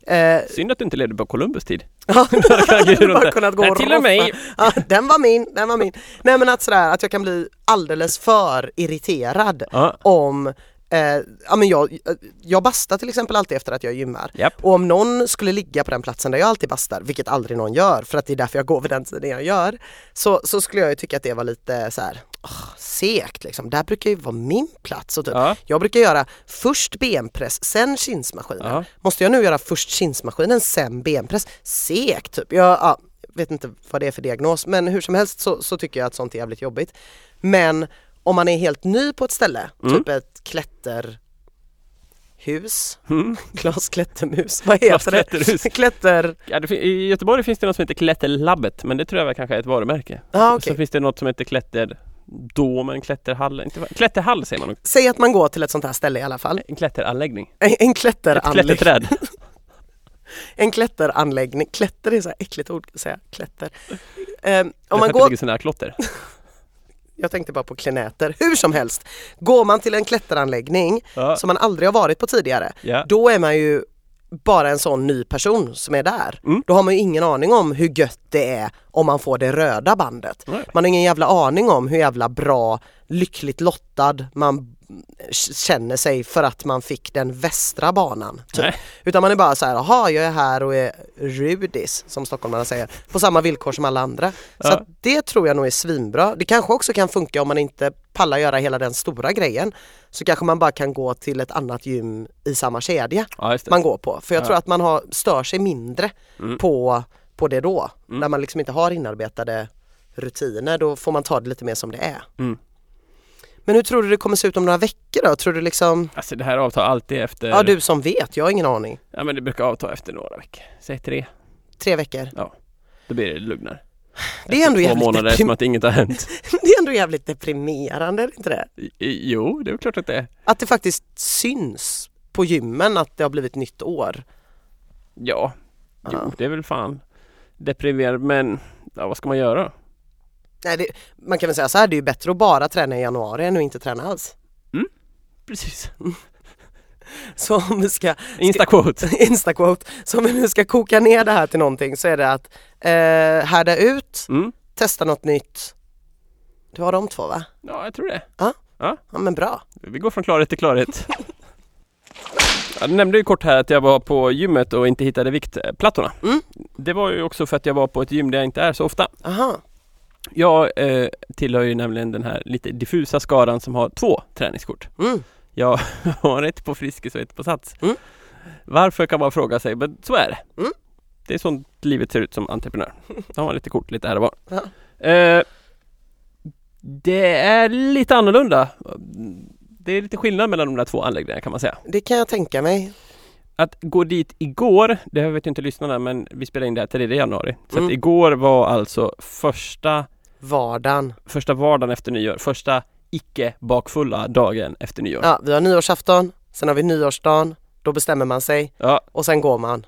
Speaker 3: eh,
Speaker 1: Synd att du inte ledde på Columbus tid.
Speaker 3: (laughs) ja,
Speaker 1: Kan du
Speaker 3: bara
Speaker 1: inte-
Speaker 3: kunnat gå
Speaker 1: Nej,
Speaker 3: och
Speaker 1: till och med.
Speaker 3: roffa. Ja, den var min, den var min. Nej men att sådär att jag kan bli alldeles för irriterad
Speaker 1: Ja.
Speaker 3: om eh, ja, men jag, jag bastar till exempel alltid efter att jag gymmar.
Speaker 1: Japp.
Speaker 3: Och om någon skulle ligga på den platsen där jag alltid bastar, vilket aldrig någon gör för att det är därför jag går vid den tiden jag gör, så, så skulle jag ju tycka att det var lite så här "Åh, segt liksom. Där brukar ju vara min plats. Och typ,
Speaker 1: Ja.
Speaker 3: Jag brukar göra först benpress, sen kinsmaskinen.
Speaker 1: Ja.
Speaker 3: Måste jag nu göra först kinsmaskinen, sen benpress? Segt typ. Jag ja, vet inte vad det är för diagnos men hur som helst så, så tycker jag att sånt är jävligt jobbigt. Men om man är helt ny på ett ställe, typ ett klätterhus, (laughs)
Speaker 1: Mm.
Speaker 3: Klas
Speaker 1: (laughs)
Speaker 3: klättermus, vad heter det?
Speaker 1: Klätterhus.
Speaker 3: (laughs) Klätter...
Speaker 1: Ja, det fin- I Göteborg finns det något som heter Klätterlabbet, men det tror jag väl kanske är ett varumärke.
Speaker 3: Ah, okej.
Speaker 1: Så finns det något som heter Klätterdomen, Klätterhallen, inte, va- Klätterhall säger man nog.
Speaker 3: Säg att man går till ett sånt här ställe i alla fall.
Speaker 1: En klätteranläggning.
Speaker 3: En, en
Speaker 1: Ett
Speaker 3: klätteranläggning.
Speaker 1: klätterträd.
Speaker 3: En klätteranläggning. Klätter är så här äckligt ord att säga.
Speaker 1: (laughs)
Speaker 3: Klätter. Ehm, (laughs) om
Speaker 1: Därför
Speaker 3: man
Speaker 1: att Det
Speaker 3: går
Speaker 1: ligger så nära klotter.
Speaker 3: jag tänkte bara på klenäter, hur som helst. Går man till en klätteranläggning
Speaker 1: Ja.
Speaker 3: som man aldrig har varit på tidigare,
Speaker 1: Ja.
Speaker 3: då är man ju bara en sån ny person som är där.
Speaker 1: Mm.
Speaker 3: Då har man ju ingen aning om hur gött det är om man får det röda bandet.
Speaker 1: Nej.
Speaker 3: Man har ingen jävla aning om hur jävla bra, lyckligt lottad man känner sig för att man fick den västra banan. Typ.
Speaker 1: Nej.
Speaker 3: Utan man är bara så här, jaha jag är här och är rudis som stockholmarna säger, på samma villkor som alla andra. Så
Speaker 1: Ja.
Speaker 3: att det tror jag nog är svinbra. Det kanske också kan funka om man inte pallar göra hela den stora grejen. Så kanske man bara kan gå till ett annat gym i samma kedja
Speaker 1: Ja, just det.
Speaker 3: man går på. För jag
Speaker 1: Ja.
Speaker 3: tror att man har, stör sig mindre på, på det då.
Speaker 1: Mm.
Speaker 3: När man liksom inte har inarbetade rutiner, då får man ta det lite mer som det är.
Speaker 1: Mm.
Speaker 3: Men hur tror du det kommer se ut om några veckor då? Tror du liksom,
Speaker 1: Alltså det här avtar alltid efter...
Speaker 3: ja du som vet, jag har ingen aning.
Speaker 1: ja men det brukar avta efter några veckor. Säg tre.
Speaker 3: Tre veckor.
Speaker 1: Då blir det lugnare.
Speaker 3: Det är ändå
Speaker 1: Två
Speaker 3: jävligt,
Speaker 1: månader som
Speaker 3: deprim-
Speaker 1: att inget har hänt.
Speaker 3: (laughs) det är ändå jävligt deprimerande, är det inte det?
Speaker 1: I- i- Jo, det är klart att det är.
Speaker 3: Att det faktiskt syns på gymmen att det har blivit nytt år.
Speaker 1: Ja, jo,
Speaker 3: Ja.
Speaker 1: det är väl fan deprimerande men ja, vad ska man göra?
Speaker 3: Nej, det, man kan väl säga så här, det är ju bättre att bara träna i januari än att inte träna alls.
Speaker 1: Precis.
Speaker 3: Så om vi ska (laughs)
Speaker 1: Instaquote.
Speaker 3: Instaquote. Så om vi nu ska koka ner det här till någonting så är det att eh, härda ut,
Speaker 1: Mm.
Speaker 3: testa något nytt. Du har de två va?
Speaker 1: Ja, jag tror det.
Speaker 3: Ja men bra.
Speaker 1: Vi går från klarhet till
Speaker 3: (laughs)
Speaker 1: klarhet. Jag nämnde ju kort här att jag var på gymmet och inte hittade viktplattorna.
Speaker 3: Mm.
Speaker 1: Det var ju också för att jag var på ett gym där jag inte är så ofta.
Speaker 3: Aha.
Speaker 1: Jag eh, tillhör ju nämligen den här lite diffusa skaran som har två träningskort.
Speaker 3: Mm.
Speaker 1: Jag har ett på Friskis och ett på Sats.
Speaker 3: Mm.
Speaker 1: Varför kan man fråga sig, men så är det.
Speaker 3: Mm.
Speaker 1: Det är sånt livet ser ut som entreprenör. Då har man lite kort lite här och var.
Speaker 3: Ja.
Speaker 1: Eh, det är lite annorlunda. Det är lite skillnad mellan de där två anläggningarna kan man säga.
Speaker 3: Det kan jag tänka mig.
Speaker 1: att gå dit igår, det vet inte lyssnarna men vi spelade in det här 3 januari. Så
Speaker 3: Mm.
Speaker 1: att igår var alltså första,
Speaker 3: Vardagen.
Speaker 1: första vardagen efter nyår, första icke bakfulla dagen efter nyår.
Speaker 3: Ja, vi har nyårsafton, sen har vi nyårsdagen, då bestämmer man sig
Speaker 1: Ja,
Speaker 3: och sen går man.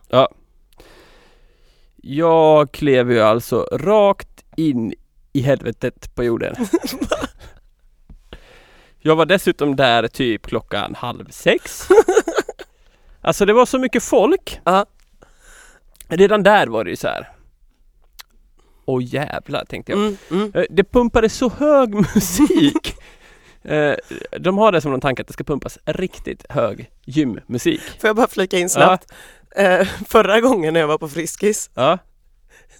Speaker 1: jag klev ju alltså rakt in i helvetet på (laughs) jorden. jag var dessutom där typ klockan halv sex. Alltså det var så mycket folk.
Speaker 3: Ja.
Speaker 1: Redan där var det ju så här. Åh jävlar tänkte jag.
Speaker 3: Mm, mm.
Speaker 1: Eh, Det pumpades så hög (laughs) musik. Eh, De har det som någon tanke att det ska pumpas riktigt hög gymmusik.
Speaker 3: (laughs) Får jag bara flika in snabbt? Eh, förra gången när jag var på Friskis,
Speaker 1: Ja,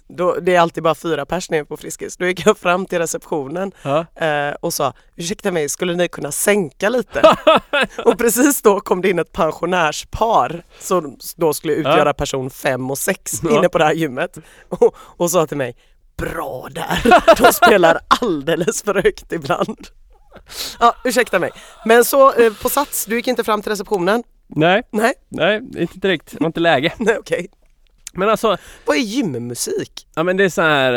Speaker 3: då, det är alltid bara fyra pers när jag är på Friskis, då gick jag fram till receptionen
Speaker 1: ja.
Speaker 3: eh, och sa ursäkta mig, skulle ni kunna sänka lite? och precis då kom det in ett pensionärspar som då skulle utgöra
Speaker 1: Ja.
Speaker 3: person fem och sex
Speaker 1: Ja.
Speaker 3: inne på det här gymmet och, och sa till mig Bra där! De spelar alldeles för högt ibland. Ja, ursäkta mig. Men så eh, på Sats, du gick inte fram till receptionen?
Speaker 1: Nej,
Speaker 3: Nej,
Speaker 1: nej, inte direkt. Det var inte läge.
Speaker 3: nej okej.
Speaker 1: Men alltså,
Speaker 3: Vad är gymmusik?
Speaker 1: ja men det är så här.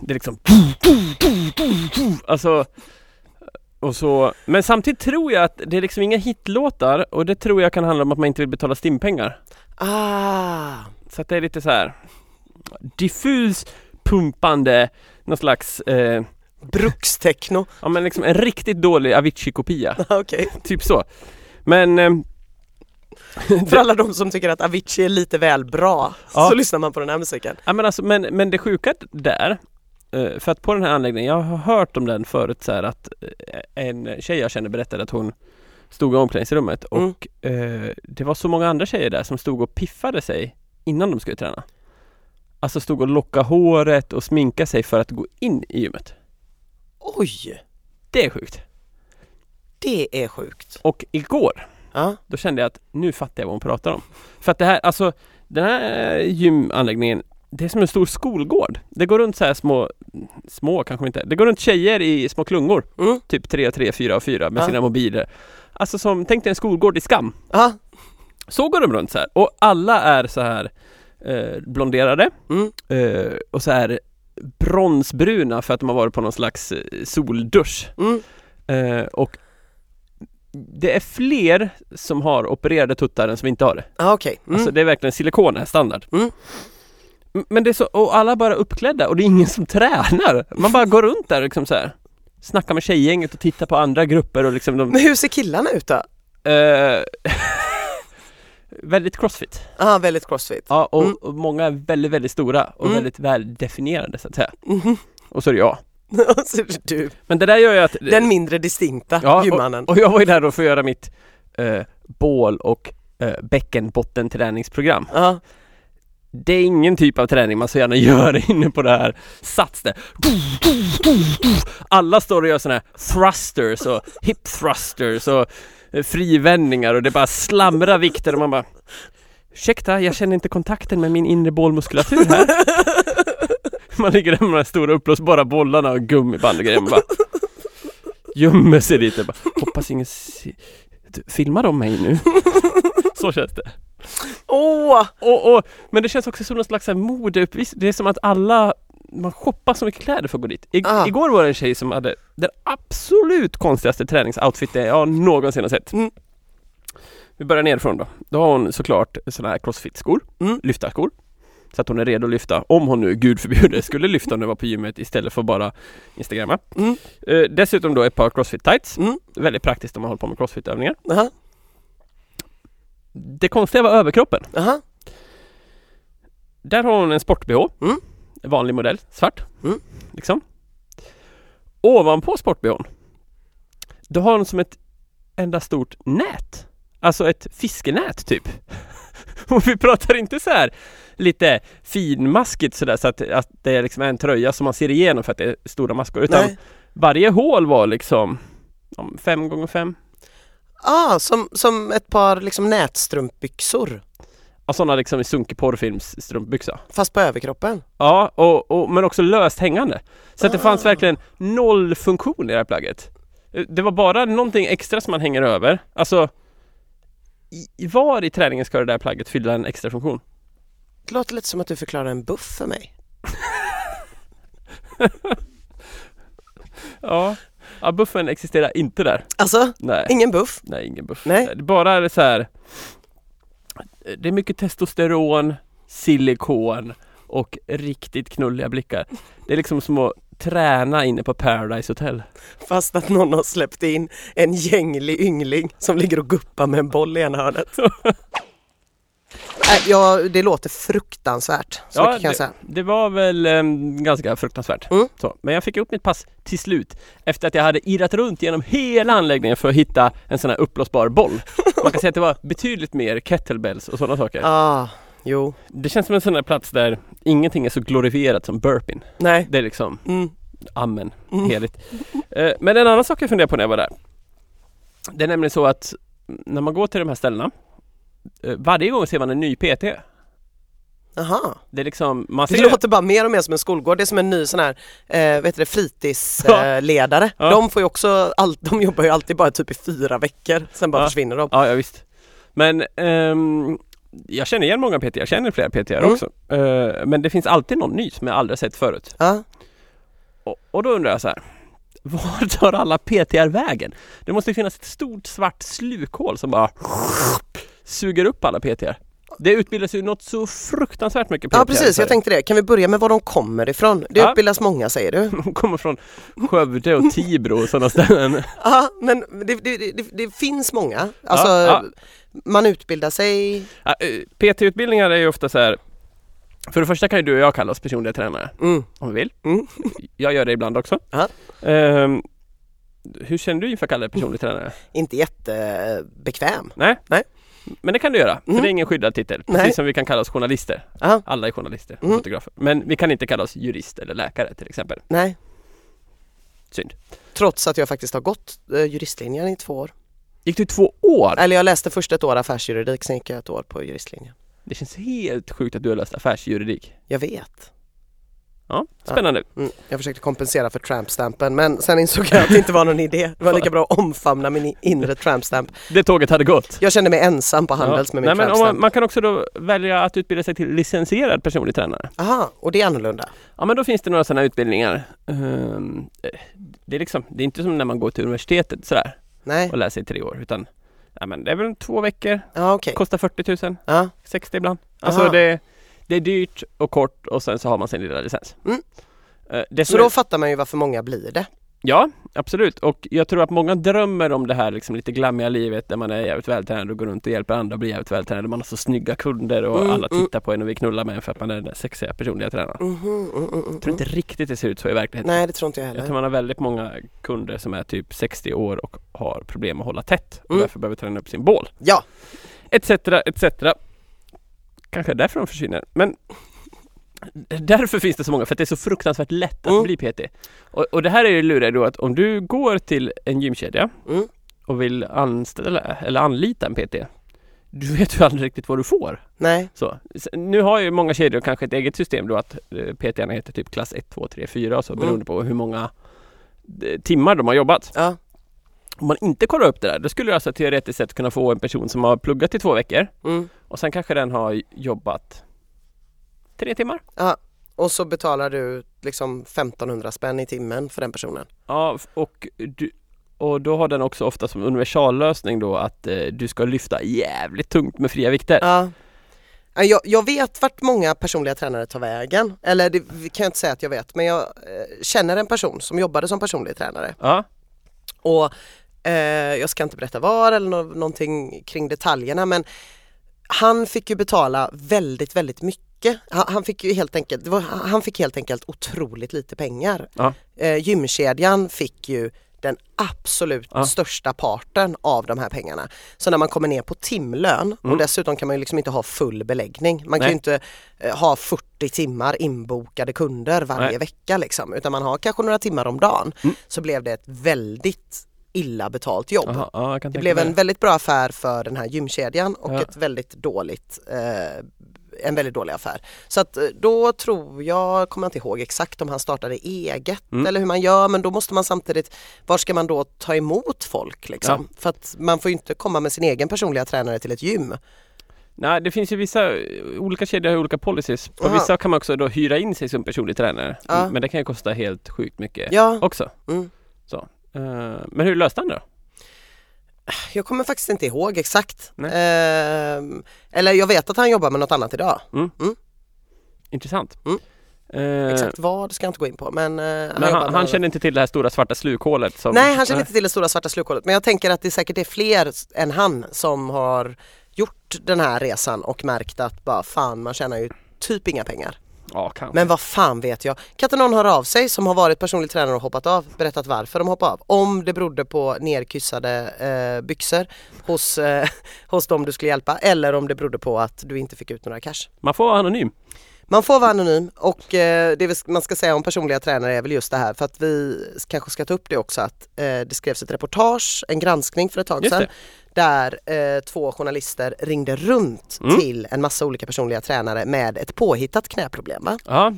Speaker 1: Det är liksom Alltså och så, men samtidigt tror jag att det är liksom inga hitlåtar och det tror jag kan handla om att man inte vill betala stimpengar.
Speaker 3: Ah,
Speaker 1: Så att det är lite så här diffus pumpande, någon slags, eh, (laughs)
Speaker 3: brukstechno.
Speaker 1: ja men liksom en riktigt dålig Avicii-kopia. (laughs)
Speaker 3: Okej,
Speaker 1: typ så. Men eh,
Speaker 3: för alla de som tycker att Avicii är lite väl bra
Speaker 1: Ja.
Speaker 3: så lyssnar man på den här musiken.
Speaker 1: Ja men alltså, men, men det sjuka där, eh, för att på den här anläggningen, jag har hört om den förut så här att eh, en tjej jag känner berättade att hon stod i omklädningsrummet
Speaker 3: Mm.
Speaker 1: och eh, det var så många andra tjejer där som stod och piffade sig innan de skulle träna. Alltså stod och locka håret och sminka sig för att gå in i gymmet.
Speaker 3: Oj,
Speaker 1: Det är sjukt.
Speaker 3: det är sjukt.
Speaker 1: Och igår,
Speaker 3: Ja,
Speaker 1: då kände jag att nu fattar jag vad hon pratar om. För att det här, alltså den här gymanläggningen, det är som en stor skolgård. Det går runt så här små, små kanske inte, det går runt tjejer i små klungor,
Speaker 3: mm.
Speaker 1: typ 3 och 3, 4 och 4 med
Speaker 3: Ja.
Speaker 1: sina mobiler. Alltså som, tänk dig en skolgård i Skam.
Speaker 3: ja.
Speaker 1: Så går de runt så här och alla är så här eh, blonderade
Speaker 3: Mm.
Speaker 1: eh, och så här bronsbruna för att de har varit på någon slags eh, soldusch.
Speaker 3: Mm.
Speaker 1: Eh, och det är fler som har opererade tuttar än som inte har det.
Speaker 3: Ah, okej. Mm.
Speaker 1: Alltså det är verkligen silikon här, standard.
Speaker 3: Mm.
Speaker 1: M- Men det är så, och alla är bara uppklädda och det är ingen som (laughs) tränar. Man bara går runt där liksom så här. Snackar med tjejgänget och tittar på andra grupper och liksom (laughs) de...
Speaker 3: Men hur ser killarna ut då?
Speaker 1: Eh, (laughs) väldigt crossfit.
Speaker 3: Ja, Ah, väldigt crossfit.
Speaker 1: Ja, och,
Speaker 3: Mm.
Speaker 1: och många är väldigt, väldigt stora och
Speaker 3: Mm.
Speaker 1: väldigt väldefinierade så att säga.
Speaker 3: Mhm. (laughs)
Speaker 1: Och så är det jag.
Speaker 3: Så du,
Speaker 1: Men det där gör ju att...
Speaker 3: den mindre distinkta
Speaker 1: Ja,
Speaker 3: gymmannen.
Speaker 1: Och jag var ju där då för att göra mitt eh, bål och eh, bäckenbottenträningsprogram.
Speaker 3: Ja,
Speaker 1: Det är ingen typ av träning man så gärna (laughs) gör inne på det här Sats där. Alla står och gör sådana här thrusters och hip thrusters och eh, frivändningar och det bara slamrar vikter och man bara Ursäkta, jag känner inte kontakten med min inre bålmuskulatur här. Man ligger där med de här stora uppblåsbara bollarna och gummiband och grejer. Man bara gömmer sig lite. Bara, Hoppas ingen se- filmar de mig nu. Så känns det.
Speaker 3: Åh,
Speaker 1: Och, och, men det känns också som någon slags så här modeuppvisning. Det är som att alla man shoppar så mycket kläder för att gå dit. I,
Speaker 3: Ah.
Speaker 1: Igår var det en tjej som hade den absolut konstigaste träningsoutfiten jag någonsin har sett.
Speaker 3: Mm.
Speaker 1: Vi börjar nerifrån då. Då har hon såklart sådana här crossfit-skor,
Speaker 3: Mm.
Speaker 1: lyftarskor. Så att hon är redo att lyfta, om hon nu, gud förbjude, skulle lyfta när hon var på gymmet istället för att bara instagramma.
Speaker 3: Mm.
Speaker 1: Eh, dessutom då ett par crossfit-tights.
Speaker 3: Mm.
Speaker 1: Väldigt praktiskt om man håller på med crossfit-övningar.
Speaker 3: aha,
Speaker 1: Det konstiga var överkroppen.
Speaker 3: aha.
Speaker 1: Där har hon en sport-bh.
Speaker 3: Mm.
Speaker 1: En Vanlig modell, svart.
Speaker 3: Mm.
Speaker 1: Liksom. Ovanpå sport-bhn, då har hon som ett enda stort nät. Alltså ett fiskenät typ. (laughs) Och vi pratar inte så här lite finmaskigt sådär så att, att det är liksom en tröja som man ser igenom för att det är stora maskor. Utan
Speaker 3: Nej.
Speaker 1: varje hål var liksom ja, fem gånger fem.
Speaker 3: Ah, som, som ett par liksom nätstrumpbyxor
Speaker 1: Ja, sådana liksom i sunkig porrfilms strumpbyxa.
Speaker 3: fast på överkroppen.
Speaker 1: Ja, och, och, men också löst hängande. Så att det fanns verkligen noll Eh, funktion i det här plagget. Det var bara någonting extra som man hänger över. Alltså, i- var i träningen ska det där plagget fylla en extra funktion?
Speaker 3: Det låter lite som att du förklarar en buff för mig.
Speaker 1: Ja, ja buffen existerar inte där.
Speaker 3: Alltså,
Speaker 1: Nej,
Speaker 3: ingen buff.
Speaker 1: nej ingen buff.
Speaker 3: Nej.
Speaker 1: Det är bara är så här. eh, Det är mycket testosteron, silikon och riktigt knulliga blickar. Det är liksom som att träna inne på Paradise Hotel.
Speaker 3: Fast att någon har släppt in en gänglig yngling som ligger och guppar med en boll i ena hörnet. Nej, Äh, ja, det låter fruktansvärt. Så mycket kan jag
Speaker 1: det,
Speaker 3: säga.
Speaker 1: det var väl em, ganska fruktansvärt.
Speaker 3: Mm.
Speaker 1: Så, men jag fick ihop mitt pass till slut efter att jag hade irrat runt genom hela anläggningen för att hitta en sån här uppblåsbar boll. Man kan säga att det var betydligt mer kettlebells och sådana saker.
Speaker 3: Ah, jo.
Speaker 1: Det känns som en sån här plats där ingenting är så glorifierat som burpin.
Speaker 3: Nej.
Speaker 1: Det är liksom
Speaker 3: Mm.
Speaker 1: amen,
Speaker 3: Mm.
Speaker 1: heligt. Eh, Men en annan sak jag funderade på när jag var där. Det är nämligen så att när man går till de här ställena eh, varje gång ser man en ny PT.
Speaker 3: Aha.
Speaker 1: Det är liksom, man
Speaker 3: Det
Speaker 1: ser
Speaker 3: låter bara mer och mer som en skolgård. Det är som en ny sån här, eh, vet du det, fritidsledare. Eh, ledare.
Speaker 1: Ja.
Speaker 3: De får ju också, all, de jobbar ju alltid bara typ i fyra veckor, sen bara
Speaker 1: Ja.
Speaker 3: försvinner de.
Speaker 1: Ja, ja visst. Men ehm, jag känner igen många PT, jag känner flera PT
Speaker 3: Mm.
Speaker 1: också. Eh, men det finns alltid någon ny som jag aldrig har sett förut.
Speaker 3: Ja.
Speaker 1: Och, och då undrar jag så här. (laughs) Var tar alla PTR vägen? Det måste ju finnas ett stort svart slukhål som bara (laughs) suger upp alla PTR. Det utbildas ju något så fruktansvärt mycket PTR.
Speaker 3: ja precis, jag tänkte det. Kan vi börja med var de kommer ifrån? Det
Speaker 1: Ja.
Speaker 3: utbildas många säger du.
Speaker 1: De kommer från Skövde och Tibro och sådana
Speaker 3: (laughs)
Speaker 1: ställen.
Speaker 3: Ja, men det, det, det, det finns många. Alltså,
Speaker 1: ja.
Speaker 3: man utbildar sig.
Speaker 1: Ja, eh, PT-utbildningar är ju ofta så här. För det första kan ju du och jag kalla oss personliga tränare.
Speaker 3: Mm.
Speaker 1: om vi vill.
Speaker 3: Mm.
Speaker 1: Jag gör det ibland också.
Speaker 3: Ja.
Speaker 1: Ehm, hur känner du inför att kalla dig personlig tränare?
Speaker 3: Inte jättebekväm.
Speaker 1: Nej?
Speaker 3: Nej.
Speaker 1: Men det kan du göra, för
Speaker 3: Mm.
Speaker 1: det är ingen skyddad titel.
Speaker 3: Nej.
Speaker 1: Precis som vi kan kalla oss journalister.
Speaker 3: Ja.
Speaker 1: Alla är journalister och
Speaker 3: Mm.
Speaker 1: fotografer. Men vi kan inte kalla oss jurist eller läkare till exempel.
Speaker 3: Nej,
Speaker 1: Synd.
Speaker 3: trots att jag faktiskt har gått eh, juristlinjen i två år.
Speaker 1: Gick du två år?
Speaker 3: Eller jag läste först ett år affärsjuridik, sen gick jag ett år på juristlinjen.
Speaker 1: Det känns helt sjukt att du har läst affärsjuridik.
Speaker 3: Jag vet.
Speaker 1: Ja, spännande.
Speaker 3: Mm, jag försökte kompensera för trampstampen men sen insåg jag att det inte var någon idé. Det var lika bra att omfamna min i- inre trampstamp.
Speaker 1: Det tåget hade gått.
Speaker 3: Jag kände mig ensam på Handels med min
Speaker 1: Nej, men om
Speaker 3: trampstamp.
Speaker 1: man, man kan också då välja att utbilda sig till licensierad personlig tränare.
Speaker 3: Aha, och det är annorlunda.
Speaker 1: Ja men då finns det några sådana utbildningar. Ehm, eh, det, är liksom, det är inte som när man går till universitetet sådär
Speaker 3: Nej,
Speaker 1: och läser i tre år utan ja, men det är väl två veckor,
Speaker 3: ja okej.
Speaker 1: kostar 40 000,
Speaker 3: Ja.
Speaker 1: 60 ibland. Alltså
Speaker 3: Aha.
Speaker 1: det, det är dyrt och kort och sen så har man sin lilla licens.
Speaker 3: Mm.
Speaker 1: Eh, det
Speaker 3: Så
Speaker 1: som
Speaker 3: då
Speaker 1: är,
Speaker 3: fattar man ju varför många blir det.
Speaker 1: ja, absolut. Och jag tror att många drömmer om det här liksom lite glammiga livet där man är jävligt vältränad och går runt och hjälper andra att bli jävligt vältränad. Man har så snygga kunder och
Speaker 3: Mm,
Speaker 1: alla
Speaker 3: mm.
Speaker 1: tittar på en och vill knulla med en för att man är den där sexiga personliga tränaren.
Speaker 3: Mhm, mm, mm, mm.
Speaker 1: Jag tror inte riktigt det ser ut så i verkligheten.
Speaker 3: Nej det tror inte jag
Speaker 1: mm-hmm, Jag
Speaker 3: heller.
Speaker 1: tror man har väldigt många kunder som är typ 60 år och har problem att hålla tätt och
Speaker 3: Mm.
Speaker 1: därför behöver träna upp sin bål.
Speaker 3: Ja,
Speaker 1: Etc, etc. Kanske därför de försvinner. Men (laughs) därför finns det så många, för att det är så fruktansvärt lätt att
Speaker 3: Mm.
Speaker 1: bli PT. Och, och det här är ju luriga då att om du går till en gymkedja
Speaker 3: Mm.
Speaker 1: och vill anställa eller anlita en PT du vet ju aldrig riktigt vad du får.
Speaker 3: nej.
Speaker 1: Så. S- Nu har ju många kedjor kanske ett eget system då att eh, PT-arna heter typ klass 1, 2, 3, 4 och så
Speaker 3: Mm.
Speaker 1: beroende på hur många eh, timmar de har jobbat.
Speaker 3: Ja.
Speaker 1: Om man inte kollar upp det där, då skulle du alltså teoretiskt sett kunna få en person som har pluggat i två veckor
Speaker 3: Mm.
Speaker 1: och sen kanske den har jobbat tre timmar.
Speaker 3: Och så betalar du liksom 1500 spänn i timmen för den personen.
Speaker 1: Ja, f- och, du, och då har den också ofta som universallösning då att eh, du ska lyfta jävligt tungt med fria vikter.
Speaker 3: Ja. Ja, Jag, jag vet vart många personliga tränare tar vägen. Eller det kan jag inte säga att jag vet men jag eh, känner en person som jobbade som personlig tränare
Speaker 1: Ja,
Speaker 3: och eh, jag ska inte berätta var eller nå- någonting kring detaljerna men han fick ju betala väldigt, väldigt mycket. Han, han fick ju helt enkelt, det var, han fick helt enkelt otroligt lite pengar.
Speaker 1: Ja.
Speaker 3: Eh, gymkedjan fick ju den absolut
Speaker 1: Ja.
Speaker 3: största parten av de här pengarna. Så när man kommer ner på timlön och
Speaker 1: Mm.
Speaker 3: dessutom kan man ju liksom inte ha full beläggning. Man kan
Speaker 1: Nej.
Speaker 3: ju inte eh, ha 40 timmar inbokade kunder varje
Speaker 1: Nej.
Speaker 3: vecka liksom utan man har kanske några timmar om dagen.
Speaker 1: Mm.
Speaker 3: Så blev det ett väldigt illa betalt jobb.
Speaker 1: Aha, ja jag kan
Speaker 3: Det
Speaker 1: tänka
Speaker 3: blev
Speaker 1: mig
Speaker 3: en väldigt bra affär för den här gymkedjan och
Speaker 1: Ja.
Speaker 3: ett väldigt dåligt eh, en väldigt dålig affär. Så att eh, då tror jag, kommer jag inte ihåg exakt om han startade eget
Speaker 1: Mm.
Speaker 3: eller hur man gör men då måste man samtidigt, var ska man då ta emot folk liksom? För att man får ju inte komma med sin egen personliga tränare till ett gym.
Speaker 1: Nej, det finns ju vissa, eh, olika kedjor har olika policies. På
Speaker 3: Aha.
Speaker 1: vissa kan man också då hyra in sig som personlig tränare. Mm,
Speaker 3: Ja.
Speaker 1: Men det kan ju kosta helt sjukt mycket
Speaker 3: Ja.
Speaker 1: också.
Speaker 3: Mm.
Speaker 1: Så. Eh, Men hur löste han det då?
Speaker 3: Jag kommer faktiskt inte ihåg exakt.
Speaker 1: Nej.
Speaker 3: Ehm, eller jag vet att han jobbar med något annat idag.
Speaker 1: Intressant.
Speaker 3: Mm.
Speaker 1: Eh,
Speaker 3: Exakt vad ska jag inte gå in på men, eh, han,
Speaker 1: Men
Speaker 3: jobbar
Speaker 1: han,
Speaker 3: med
Speaker 1: han
Speaker 3: något.
Speaker 1: kände inte till det här stora svarta slukhålet? Som,
Speaker 3: Nej han känner inte till det stora svarta slukhålet men jag tänker att det säkert är fler s- än han som har gjort den här resan och märkt att bara fan man tjänar ju typ inga pengar.
Speaker 1: Ja, kanske.
Speaker 3: Men vad fan vet jag. Kan inte någon höra av sig som har varit personlig tränare och hoppat av, berättat varför de hoppade av. Om det berodde på nerkyssade eh, byxor hos, eh, (laughs) hos dem du skulle hjälpa eller om det berodde på att du inte fick ut några cash.
Speaker 1: Man får vara anonym.
Speaker 3: Man får vara anonym och eh, det vi sk- man ska säga om personliga tränare är väl just det här för att vi s- kanske ska ta upp det också att eh, det skrevs ett reportage, en granskning för ett tag
Speaker 1: Just
Speaker 3: sedan där eh, två journalister ringde runt
Speaker 1: Mm.
Speaker 3: till en massa olika personliga tränare med ett påhittat knäproblem. Va?
Speaker 1: Ja,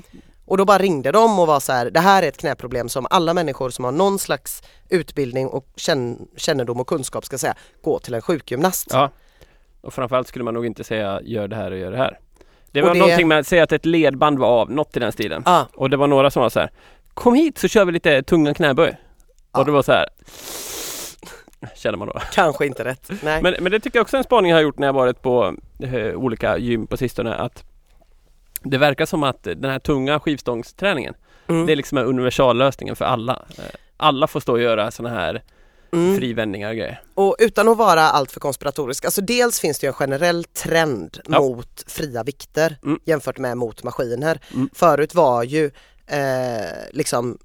Speaker 3: Och då bara ringde de och var så här, det här är ett knäproblem som alla människor som har någon slags utbildning och känn- kännedom och kunskap ska säga, gå till en sjukgymnast.
Speaker 1: ja. Och framförallt skulle man nog inte säga gör det här och gör det här. Det
Speaker 3: Och
Speaker 1: var
Speaker 3: det-
Speaker 1: någonting med att säga att ett ledband var av, något i den stilen.
Speaker 3: Ah,
Speaker 1: Och det var några som var så här Kom hit så kör vi lite tunga knäböj.
Speaker 3: Ja.
Speaker 1: Och det var så här Känner man då.
Speaker 3: kanske inte rätt. Nej.
Speaker 1: Men, men det tycker jag också är en spaning jag har gjort när jag varit på eh, olika gym på sistone att det verkar som att den här tunga skivstångsträningen
Speaker 3: Mm.
Speaker 1: det är liksom är universallösningen för alla. Eh, Alla får stå och göra sådana här
Speaker 3: Mm.
Speaker 1: frivändningar och grejer.
Speaker 3: Och utan att vara alltför konspiratorisk, alltså dels finns det ju en generell trend
Speaker 1: Ja.
Speaker 3: mot fria vikter
Speaker 1: Mm.
Speaker 3: jämfört med mot maskiner.
Speaker 1: Mm.
Speaker 3: Förut var ju eh, liksom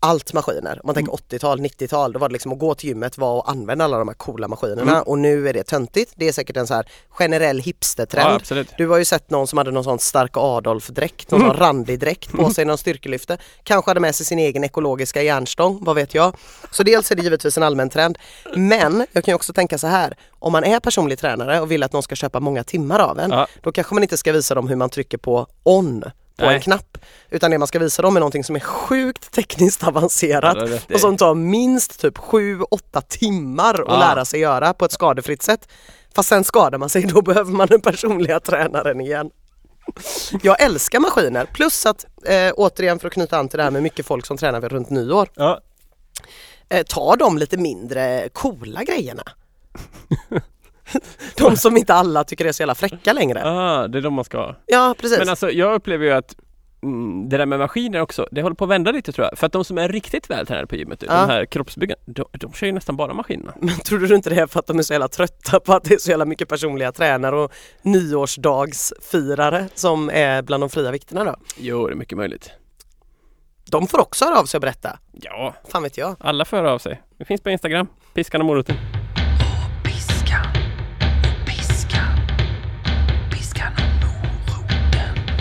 Speaker 3: allt maskiner. Om
Speaker 1: Mm.
Speaker 3: man tänker 80-tal, 90-tal, då var det liksom att gå till gymmet var att använda alla de här coola maskinerna
Speaker 1: Mm.
Speaker 3: och nu är det töntigt. Det är säkert en så här generell hipstertrend.
Speaker 1: Ja, absolut. Mm.
Speaker 3: Du har ju sett någon som hade någon sån starka Adolf-dräkt, någon sån randig dräkt på sig, någon styrkelyfte. Kanske hade med sig sin egen ekologiska järnstång, vad vet jag. Så dels är det givetvis en allmän trend. Men jag kan ju också tänka så här, om man är personlig tränare och vill att någon ska köpa många timmar av en,
Speaker 1: Ja.
Speaker 3: då kanske man inte ska visa dem hur man trycker på on på en
Speaker 1: Nej.
Speaker 3: knapp. Utan det man ska visa dem är någonting som är sjukt tekniskt avancerat
Speaker 1: Ja, det är rätt.
Speaker 3: och som tar minst typ 7-8 timmar att
Speaker 1: Ah.
Speaker 3: lära sig göra på ett skadefritt sätt. Fast sen skadar man sig, (laughs) då behöver man den personliga tränaren igen. Jag älskar maskiner, plus att eh, återigen för att knyta an till det här med mycket folk som tränar vid runt nyår,
Speaker 1: Ja.
Speaker 3: eh, ta de lite mindre coola grejerna. (laughs) de som inte alla tycker är så jävla fräcka längre.
Speaker 1: Ah, det är de man ska ha.
Speaker 3: Ja precis.
Speaker 1: Men alltså jag upplever ju att mm, det där med maskiner också, det håller på att vända lite tror jag. För att de som är riktigt vältränade på gymmet, typ,
Speaker 3: Ja.
Speaker 1: de här kroppsbyggarna, de, de kör ju nästan bara
Speaker 3: (laughs)
Speaker 1: maskinerna.
Speaker 3: Men tror du inte det är för att de är så jävla trötta på att det är så jävla mycket personliga tränare och nyårsdagsfirare som är bland de fria vikterna då?
Speaker 1: Jo, det är mycket möjligt.
Speaker 3: De får också höra av sig och berätta.
Speaker 1: Ja,
Speaker 3: Fan vet jag.
Speaker 1: alla får höra av sig. Det finns på Instagram, Piskan och moroten.
Speaker 2: Piskan, piskan, piskan och moroten.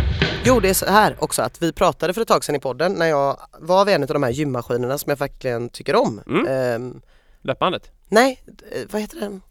Speaker 3: Jo, det är så här också att vi pratade för ett tag sedan i podden när jag var vid en av de här gymmaskinerna som jag verkligen tycker om.
Speaker 1: Mm.
Speaker 3: Ehm,
Speaker 1: Löpbandet.
Speaker 3: nej, eh, vad heter den?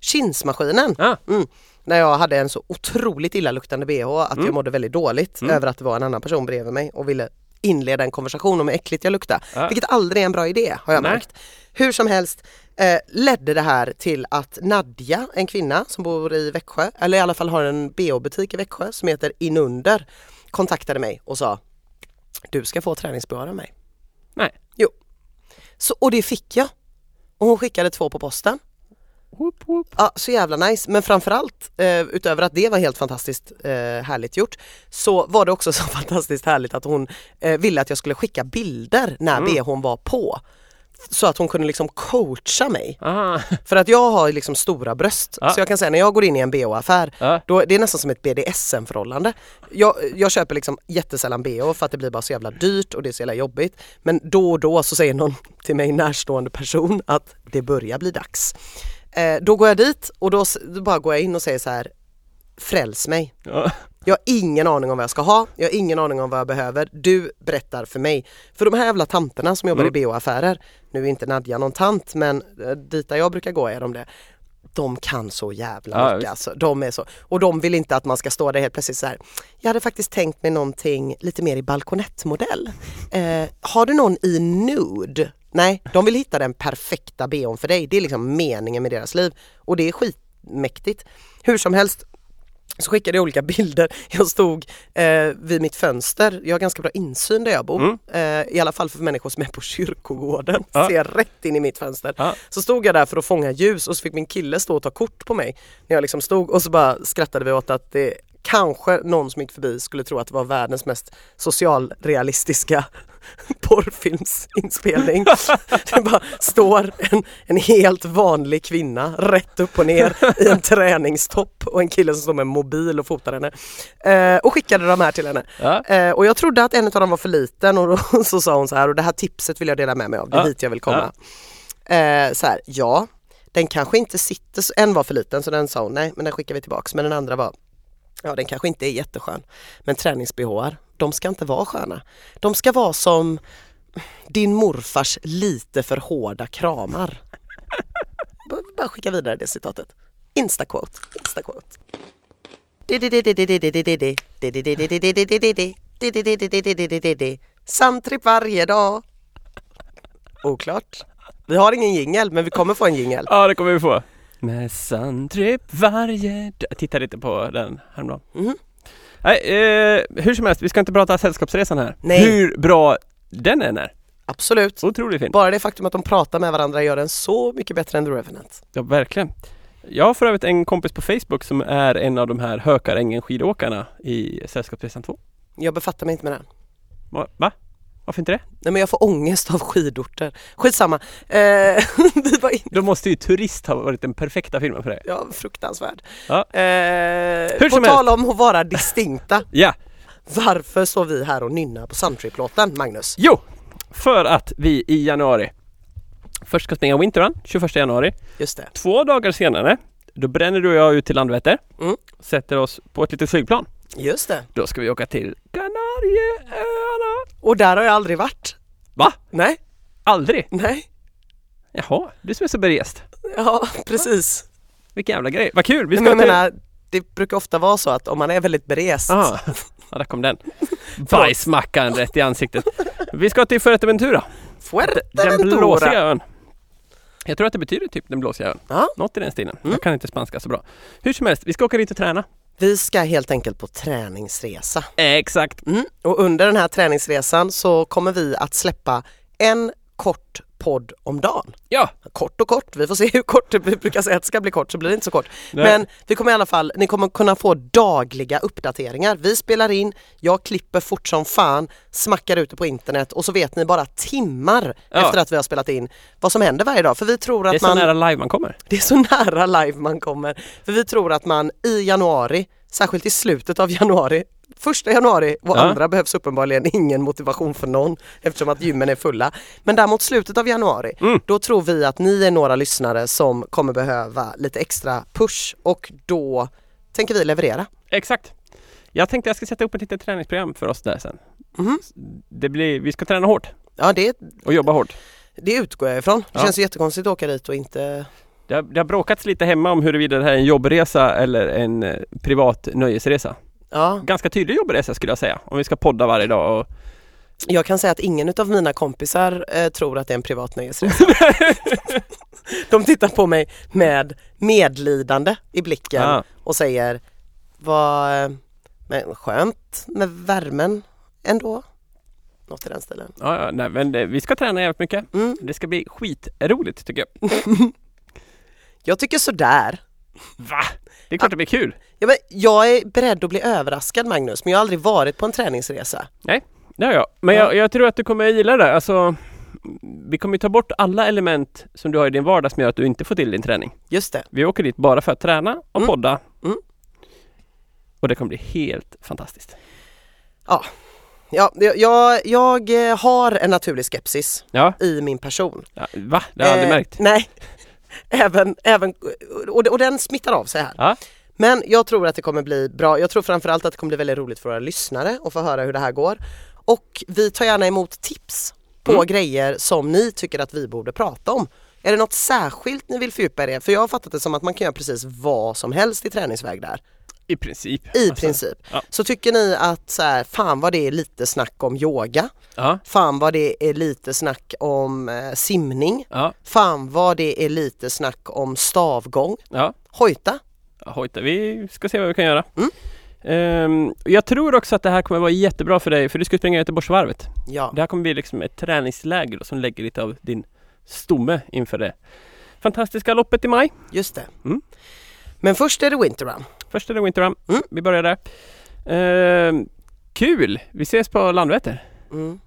Speaker 3: Kinsmaskinen.
Speaker 1: Ah.
Speaker 3: Mm. När jag hade en så otroligt illaluktande bh att jag
Speaker 1: Mm.
Speaker 3: mådde väldigt dåligt
Speaker 1: Mm.
Speaker 3: över att det var en annan person bredvid mig och ville inleda en konversation om hur äckligt jag luktade.
Speaker 1: Ja.
Speaker 3: Vilket aldrig är en bra idé har jag
Speaker 1: Nej.
Speaker 3: märkt. Hur som helst eh, ledde det här till att Nadja, en kvinna som bor i Växjö, eller i alla fall har en bh-butik i Växjö som heter Inunder, kontaktade mig och sa du ska få träningsbh av mig.
Speaker 1: Nej.
Speaker 3: Jo. Så, och det fick jag. Och hon skickade två på posten.
Speaker 1: Whoop, whoop.
Speaker 3: Ja, så jävla nice. Men framförallt, eh, utöver att det var helt fantastiskt eh, härligt gjort, så var det också (laughs) så fantastiskt härligt att hon eh, ville att jag skulle skicka bilder när bhn var på. Så att hon kunde liksom coacha mig.
Speaker 1: Ah.
Speaker 3: (laughs) För att jag har liksom stora bröst.
Speaker 1: Ja.
Speaker 3: Så jag kan säga när jag går in i en bh-affär,
Speaker 1: Ja.
Speaker 3: då, det är nästan som ett BDSM-förhållande. Jag, jag köper liksom jättesällan bh för att det blir bara så jävla dyrt och det är så jävla jobbigt. Men då och då så säger någon (laughs) till mig närstående person att det börjar bli dags. Eh, då går jag dit och då, s- då bara går jag in och säger så här, fräls mig.
Speaker 1: Ja.
Speaker 3: Jag har ingen aning om vad jag ska ha, jag har ingen aning om vad jag behöver. Du berättar för mig. För de här jävla
Speaker 1: Mm.
Speaker 3: tanterna som jobbar i BH-affärer, nu är inte Nadja någon tant men eh, dit där jag brukar gå är de det. de kan så jävla
Speaker 1: Ja,
Speaker 3: mycket
Speaker 1: visst.
Speaker 3: alltså. De är så. Och de vill inte att man ska stå där helt plötsligt så här. Jag hade faktiskt tänkt mig någonting lite mer i balkonettmodell. Eh, har du någon i nude? Nej, de vill hitta den perfekta bhn för dig. Det är liksom meningen med deras liv och det är skitmäktigt. Hur som helst så skickade jag olika (laughs) bilder. Jag stod eh, vid mitt fönster, jag har ganska bra insyn där jag bor, eh, i alla fall för människor som är på kyrkogården,
Speaker 1: Ja.
Speaker 3: ser rätt in i mitt fönster.
Speaker 1: (laughs) Ja.
Speaker 3: Så stod jag där för att fånga ljus och så fick min kille stå och ta kort på mig när jag liksom stod och så bara skrattade vi åt att det kanske någon som gick förbi skulle tro att det var världens mest socialrealistiska (laughs) porrfilmsinspelning. Det bara står en, en helt vanlig kvinna rätt upp och ner i en träningstopp och en kille som står med en mobil och fotar henne. Eh, och skickade de här till henne.
Speaker 1: Ja.
Speaker 3: Eh, och jag trodde att en av dem var för liten och då, (laughs) så sa hon så här och det här tipset vill jag dela med mig av, det är
Speaker 1: Ja.
Speaker 3: dit jag vill komma. Eh, så här, ja, den kanske inte sitter, så, en var för liten så den sa hon nej men den skickar vi tillbaks. Men den andra var, ja den kanske inte är jätteskön. Men träningsbehåar, de ska inte vara sköna. De ska vara som din morfars lite för hårda kramar. B- Bara skicka vidare det citatet. Instaquote, instaquote. Sandtripp varje dag. Oklart. Vi har ingen jingel, men vi kommer få en jingel.
Speaker 1: Ja, det kommer vi få. Med sandtripp varje dag. Jag tittade lite på den häromdagen.
Speaker 3: Mhm.
Speaker 1: Nej, eh, hur som helst, vi ska inte prata Sällskapsresan här.
Speaker 3: Nej.
Speaker 1: Hur bra den än är.
Speaker 3: Absolut.
Speaker 1: Otroligt fin.
Speaker 3: Bara det faktum att de pratar med varandra gör den så mycket bättre än The Revenant.
Speaker 1: Ja, verkligen. Jag har för övrigt en kompis på Facebook som är en av de här Hökarängen skidåkarna i Sällskapsresan 2.
Speaker 3: Jag befattar mig inte med den.
Speaker 1: Va? Va? Varför inte det?
Speaker 3: Nej men jag får ångest av skidorter. Skitsamma. Eh, (laughs) vi var in...
Speaker 1: Då måste ju Turist ha varit den perfekta filmen för det.
Speaker 3: Ja, fruktansvärd.
Speaker 1: Ja.
Speaker 3: Eh,
Speaker 1: Hur
Speaker 3: på
Speaker 1: som
Speaker 3: tal om att vara distinkta.
Speaker 1: Ja,
Speaker 3: Varför står vi här och nynnar på Suntrip-låten, Magnus?
Speaker 1: jo! För att vi i januari först ska springa Winterrun 21 januari.
Speaker 3: Just det.
Speaker 1: Två dagar senare, då bränner du och jag ut till Landvetter.
Speaker 3: Mm.
Speaker 1: Sätter oss på ett litet flygplan.
Speaker 3: Just det.
Speaker 1: Då ska vi åka till Kanarieöarna.
Speaker 3: Och där har jag aldrig varit.
Speaker 1: Va?
Speaker 3: Nej,
Speaker 1: Aldrig?
Speaker 3: nej.
Speaker 1: Jaha, du som är så berest.
Speaker 3: Ja, precis.
Speaker 1: Vilken jävla grej. Vad kul! Vi
Speaker 3: Men
Speaker 1: ska
Speaker 3: jag
Speaker 1: till...
Speaker 3: menar, det brukar ofta vara så att om man är väldigt berest.
Speaker 1: Ah, (laughs) ja, där kom den. Bajsmackan rätt i ansiktet. Vi ska till Fuerteventura. Den blåsiga
Speaker 3: Fuerteventura.
Speaker 1: ön. Jag tror att det betyder typ den blåsiga ön.
Speaker 3: Ja.
Speaker 1: Något i den stilen. Jag kan inte spanska så bra. Hur som helst, vi ska åka dit och träna.
Speaker 3: Vi ska helt enkelt på träningsresa.
Speaker 1: Exakt.
Speaker 3: Mm. Och under den här träningsresan så kommer vi att släppa en kort podd om dagen.
Speaker 1: Ja,
Speaker 3: Kort och kort, vi får se hur kort det blir. Vi brukar säga att det ska bli kort så blir det inte så kort.
Speaker 1: Nej.
Speaker 3: Men vi kommer i alla fall, ni kommer kunna få dagliga uppdateringar. Vi spelar in, jag klipper fort som fan, smackar ut det på internet och så vet ni bara timmar
Speaker 1: Ja.
Speaker 3: efter att vi har spelat in vad som händer varje dag. För vi tror att
Speaker 1: det är så
Speaker 3: man...
Speaker 1: nära live man kommer.
Speaker 3: (laughs) Det är så nära live man kommer. För vi tror att man i januari, särskilt i slutet av januari, första januari och
Speaker 1: Ja.
Speaker 3: andra behövs uppenbarligen ingen motivation för någon eftersom att gymmen är fulla. Men däremot slutet av januari,
Speaker 1: Mm.
Speaker 3: då tror vi att ni är några lyssnare som kommer behöva lite extra push och då tänker vi leverera.
Speaker 1: Exakt. Jag tänkte jag ska sätta upp ett litet träningsprogram för oss där sen. Det blir, vi ska träna hårt
Speaker 3: Mhm. Ja det,
Speaker 1: och jobba hårt.
Speaker 3: det utgår jag ifrån. Det
Speaker 1: Ja.
Speaker 3: känns ju jättekonstigt att åka dit och inte...
Speaker 1: Det har, det har bråkats lite hemma om huruvida det här är en jobbresa eller en eh, privat nöjesresa.
Speaker 3: Ja,
Speaker 1: Ganska tydlig jobbresa skulle jag säga. Om vi ska podda varje dag och
Speaker 3: jag kan säga att ingen av mina kompisar eh, tror att det är en privat nöjesresa. (laughs) De tittar på mig med medlidande i blicken
Speaker 1: Ja.
Speaker 3: och säger vad eh, men skönt med värmen ändå. Något i den stilen.
Speaker 1: Ja, ja, nej, men eh, vi ska träna jävligt mycket.
Speaker 3: Mm.
Speaker 1: Det ska bli skitroligt tycker
Speaker 3: (laughs)
Speaker 1: jag.
Speaker 3: Jag tycker sådär.
Speaker 1: Va? Det är
Speaker 3: Ah.
Speaker 1: klart det blir kul.
Speaker 3: Ja, men jag är beredd att bli överraskad Magnus men jag har aldrig varit på en träningsresa.
Speaker 1: Nej, det har jag. Men
Speaker 3: Ja.
Speaker 1: jag, jag tror att du kommer gilla det. Alltså, vi kommer ju ta bort alla element som du har i din vardag som gör att du inte får till din träning.
Speaker 3: Just det.
Speaker 1: Vi åker dit bara för att träna och
Speaker 3: Mm.
Speaker 1: podda.
Speaker 3: Mm.
Speaker 1: Och det kommer bli helt fantastiskt.
Speaker 3: Ja, jag- jag, jag eh, har en naturlig skepsis
Speaker 1: Ja,
Speaker 3: i min person.
Speaker 1: ja va? Det har jag aldrig
Speaker 3: Eh,
Speaker 1: märkt.
Speaker 3: Nej, även, även, och, och den smittar av sig här.
Speaker 1: Ja.
Speaker 3: Men jag tror att det kommer bli bra. Jag tror framförallt att det kommer bli väldigt roligt för våra lyssnare att få höra hur det här går.
Speaker 1: Mm.
Speaker 3: Och vi tar gärna emot tips på grejer som ni tycker att vi borde prata om. Är det något särskilt ni vill fördjupa er i? För jag har fattat det som att man kan göra precis vad som helst i träningsväg där.
Speaker 1: I princip.
Speaker 3: I
Speaker 1: Alltså,
Speaker 3: princip.
Speaker 1: ja.
Speaker 3: Så tycker ni att så här, fan vad det är lite snack om yoga,
Speaker 1: Ja,
Speaker 3: fan vad det är lite snack om eh, simning,
Speaker 1: ja,
Speaker 3: fan vad det är lite snack om stavgång,
Speaker 1: ja.
Speaker 3: hojta.
Speaker 1: Hojta, vi ska se vad vi kan göra.
Speaker 3: Mm.
Speaker 1: Ehm, jag tror också att det här kommer vara jättebra för dig för du ska springa Göteborgsvarvet.
Speaker 3: Ja.
Speaker 1: Det här kommer bli liksom ett träningsläger då, som lägger lite av din stomme inför det fantastiska loppet i maj.
Speaker 3: Just det.
Speaker 1: Mm.
Speaker 3: Men först är det Winter Run.
Speaker 1: Först är det Winter Run.
Speaker 3: Mm.
Speaker 1: Vi börjar där. Ehm, kul! Vi ses på Landvetter.
Speaker 3: Mm.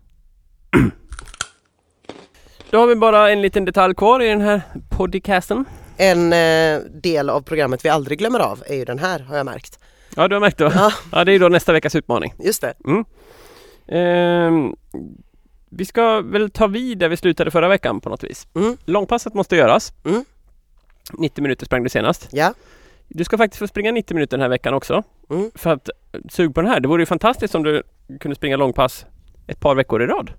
Speaker 1: Då har vi bara en liten detalj kvar i den här podcasten.
Speaker 3: En eh, del av programmet vi aldrig glömmer av är ju den här har jag märkt.
Speaker 1: Ja, du har märkt det va?
Speaker 3: Ja.
Speaker 1: ja, det är ju då nästa veckas utmaning.
Speaker 3: Just det.
Speaker 1: Ehm, vi ska väl ta vid där vi slutade förra veckan på något vis.
Speaker 3: Mm.
Speaker 1: Långpasset måste göras.
Speaker 3: Mm.
Speaker 1: 90 minuter sprang du senast.
Speaker 3: Ja.
Speaker 1: Du ska faktiskt få springa 90 minuter den här veckan också.
Speaker 3: Mm.
Speaker 1: För att eh, sug på den här. Det vore ju fantastiskt om du kunde springa långpass ett par veckor i rad.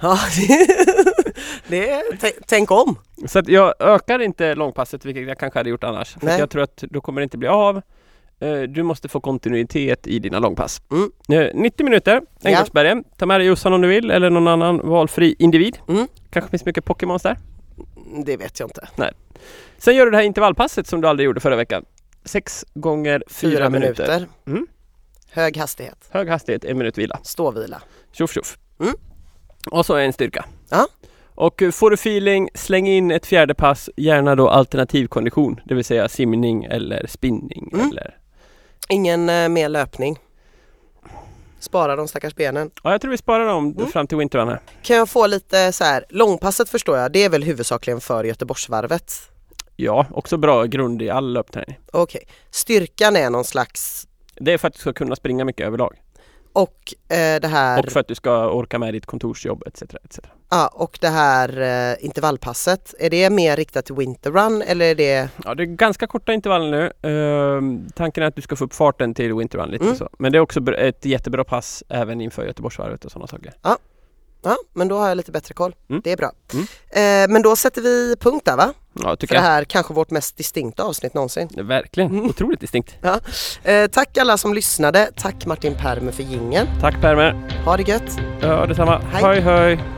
Speaker 3: ja. (laughs) det är, t- tänk om.
Speaker 1: Så att jag ökar inte långpasset, vilket jag kanske hade gjort annars. För att
Speaker 3: Nej.
Speaker 1: jag tror att då kommer det inte bli av. Eh, Du måste få kontinuitet i dina långpass.
Speaker 3: Mm.
Speaker 1: Eh, 90 minuter, Änggårdsbergen. Ta med dig Jossan om du vill, eller någon annan valfri individ.
Speaker 3: Mm.
Speaker 1: Kanske finns mycket Pokémons där.
Speaker 3: Det vet jag inte.
Speaker 1: Sen gör du det här intervallpasset som du aldrig gjorde förra veckan. 6 gånger 4 minuter. Mm.
Speaker 3: Hög hastighet,
Speaker 1: Hög hastighet, en minut vila.
Speaker 3: ståvila.
Speaker 1: Tjoff tjoff.
Speaker 3: Mm.
Speaker 1: Och så en styrka.
Speaker 3: Ja.
Speaker 1: Och eh, får du feeling, släng in ett fjärde pass, gärna då alternativkondition, det vill säga simning eller spinning
Speaker 3: Mm.
Speaker 1: eller...
Speaker 3: Ingen eh, mer löpning. Spara de stackars benen.
Speaker 1: Ja, jag tror vi sparar dem
Speaker 3: Mm.
Speaker 1: fram till Winter Run här.
Speaker 3: Kan jag få lite så här, långpasset förstår jag, det är väl huvudsakligen för Göteborgsvarvet.
Speaker 1: Ja, också bra grund i all löpträning.
Speaker 3: Okej, styrkan är någon slags
Speaker 1: Det är för att du ska kunna springa mycket överlag
Speaker 3: och eh, det här,
Speaker 1: och för att du ska orka med ditt kontorsjobb etc. etc.
Speaker 3: ja, och det här eh, intervallpasset, är det mer riktat till Winter Run eller är det,
Speaker 1: Ja, det är ganska korta intervall nu. Ehm, tanken är att du ska få upp farten till Winter Run lite
Speaker 3: Mm.
Speaker 1: så. Men det är också br- ett jättebra pass även inför Göteborgsvarvet och sådana saker.
Speaker 3: ja men då har jag lite bättre koll,
Speaker 1: Mm.
Speaker 3: det är bra.
Speaker 1: Mm.
Speaker 3: Eh, men då sätter vi punkt där va?
Speaker 1: Ja, jag tycker
Speaker 3: För det Mm. här kanske vårt mest distinkta avsnitt någonsin.
Speaker 1: jag. Verkligen, otroligt distinkt.
Speaker 3: Ja. Eh, tack alla som lyssnade, tack Martin Permer för gingen.
Speaker 1: Tack Permer.
Speaker 3: ha det gött!
Speaker 1: Ja, detsamma. Hej
Speaker 3: Hej.
Speaker 1: hej.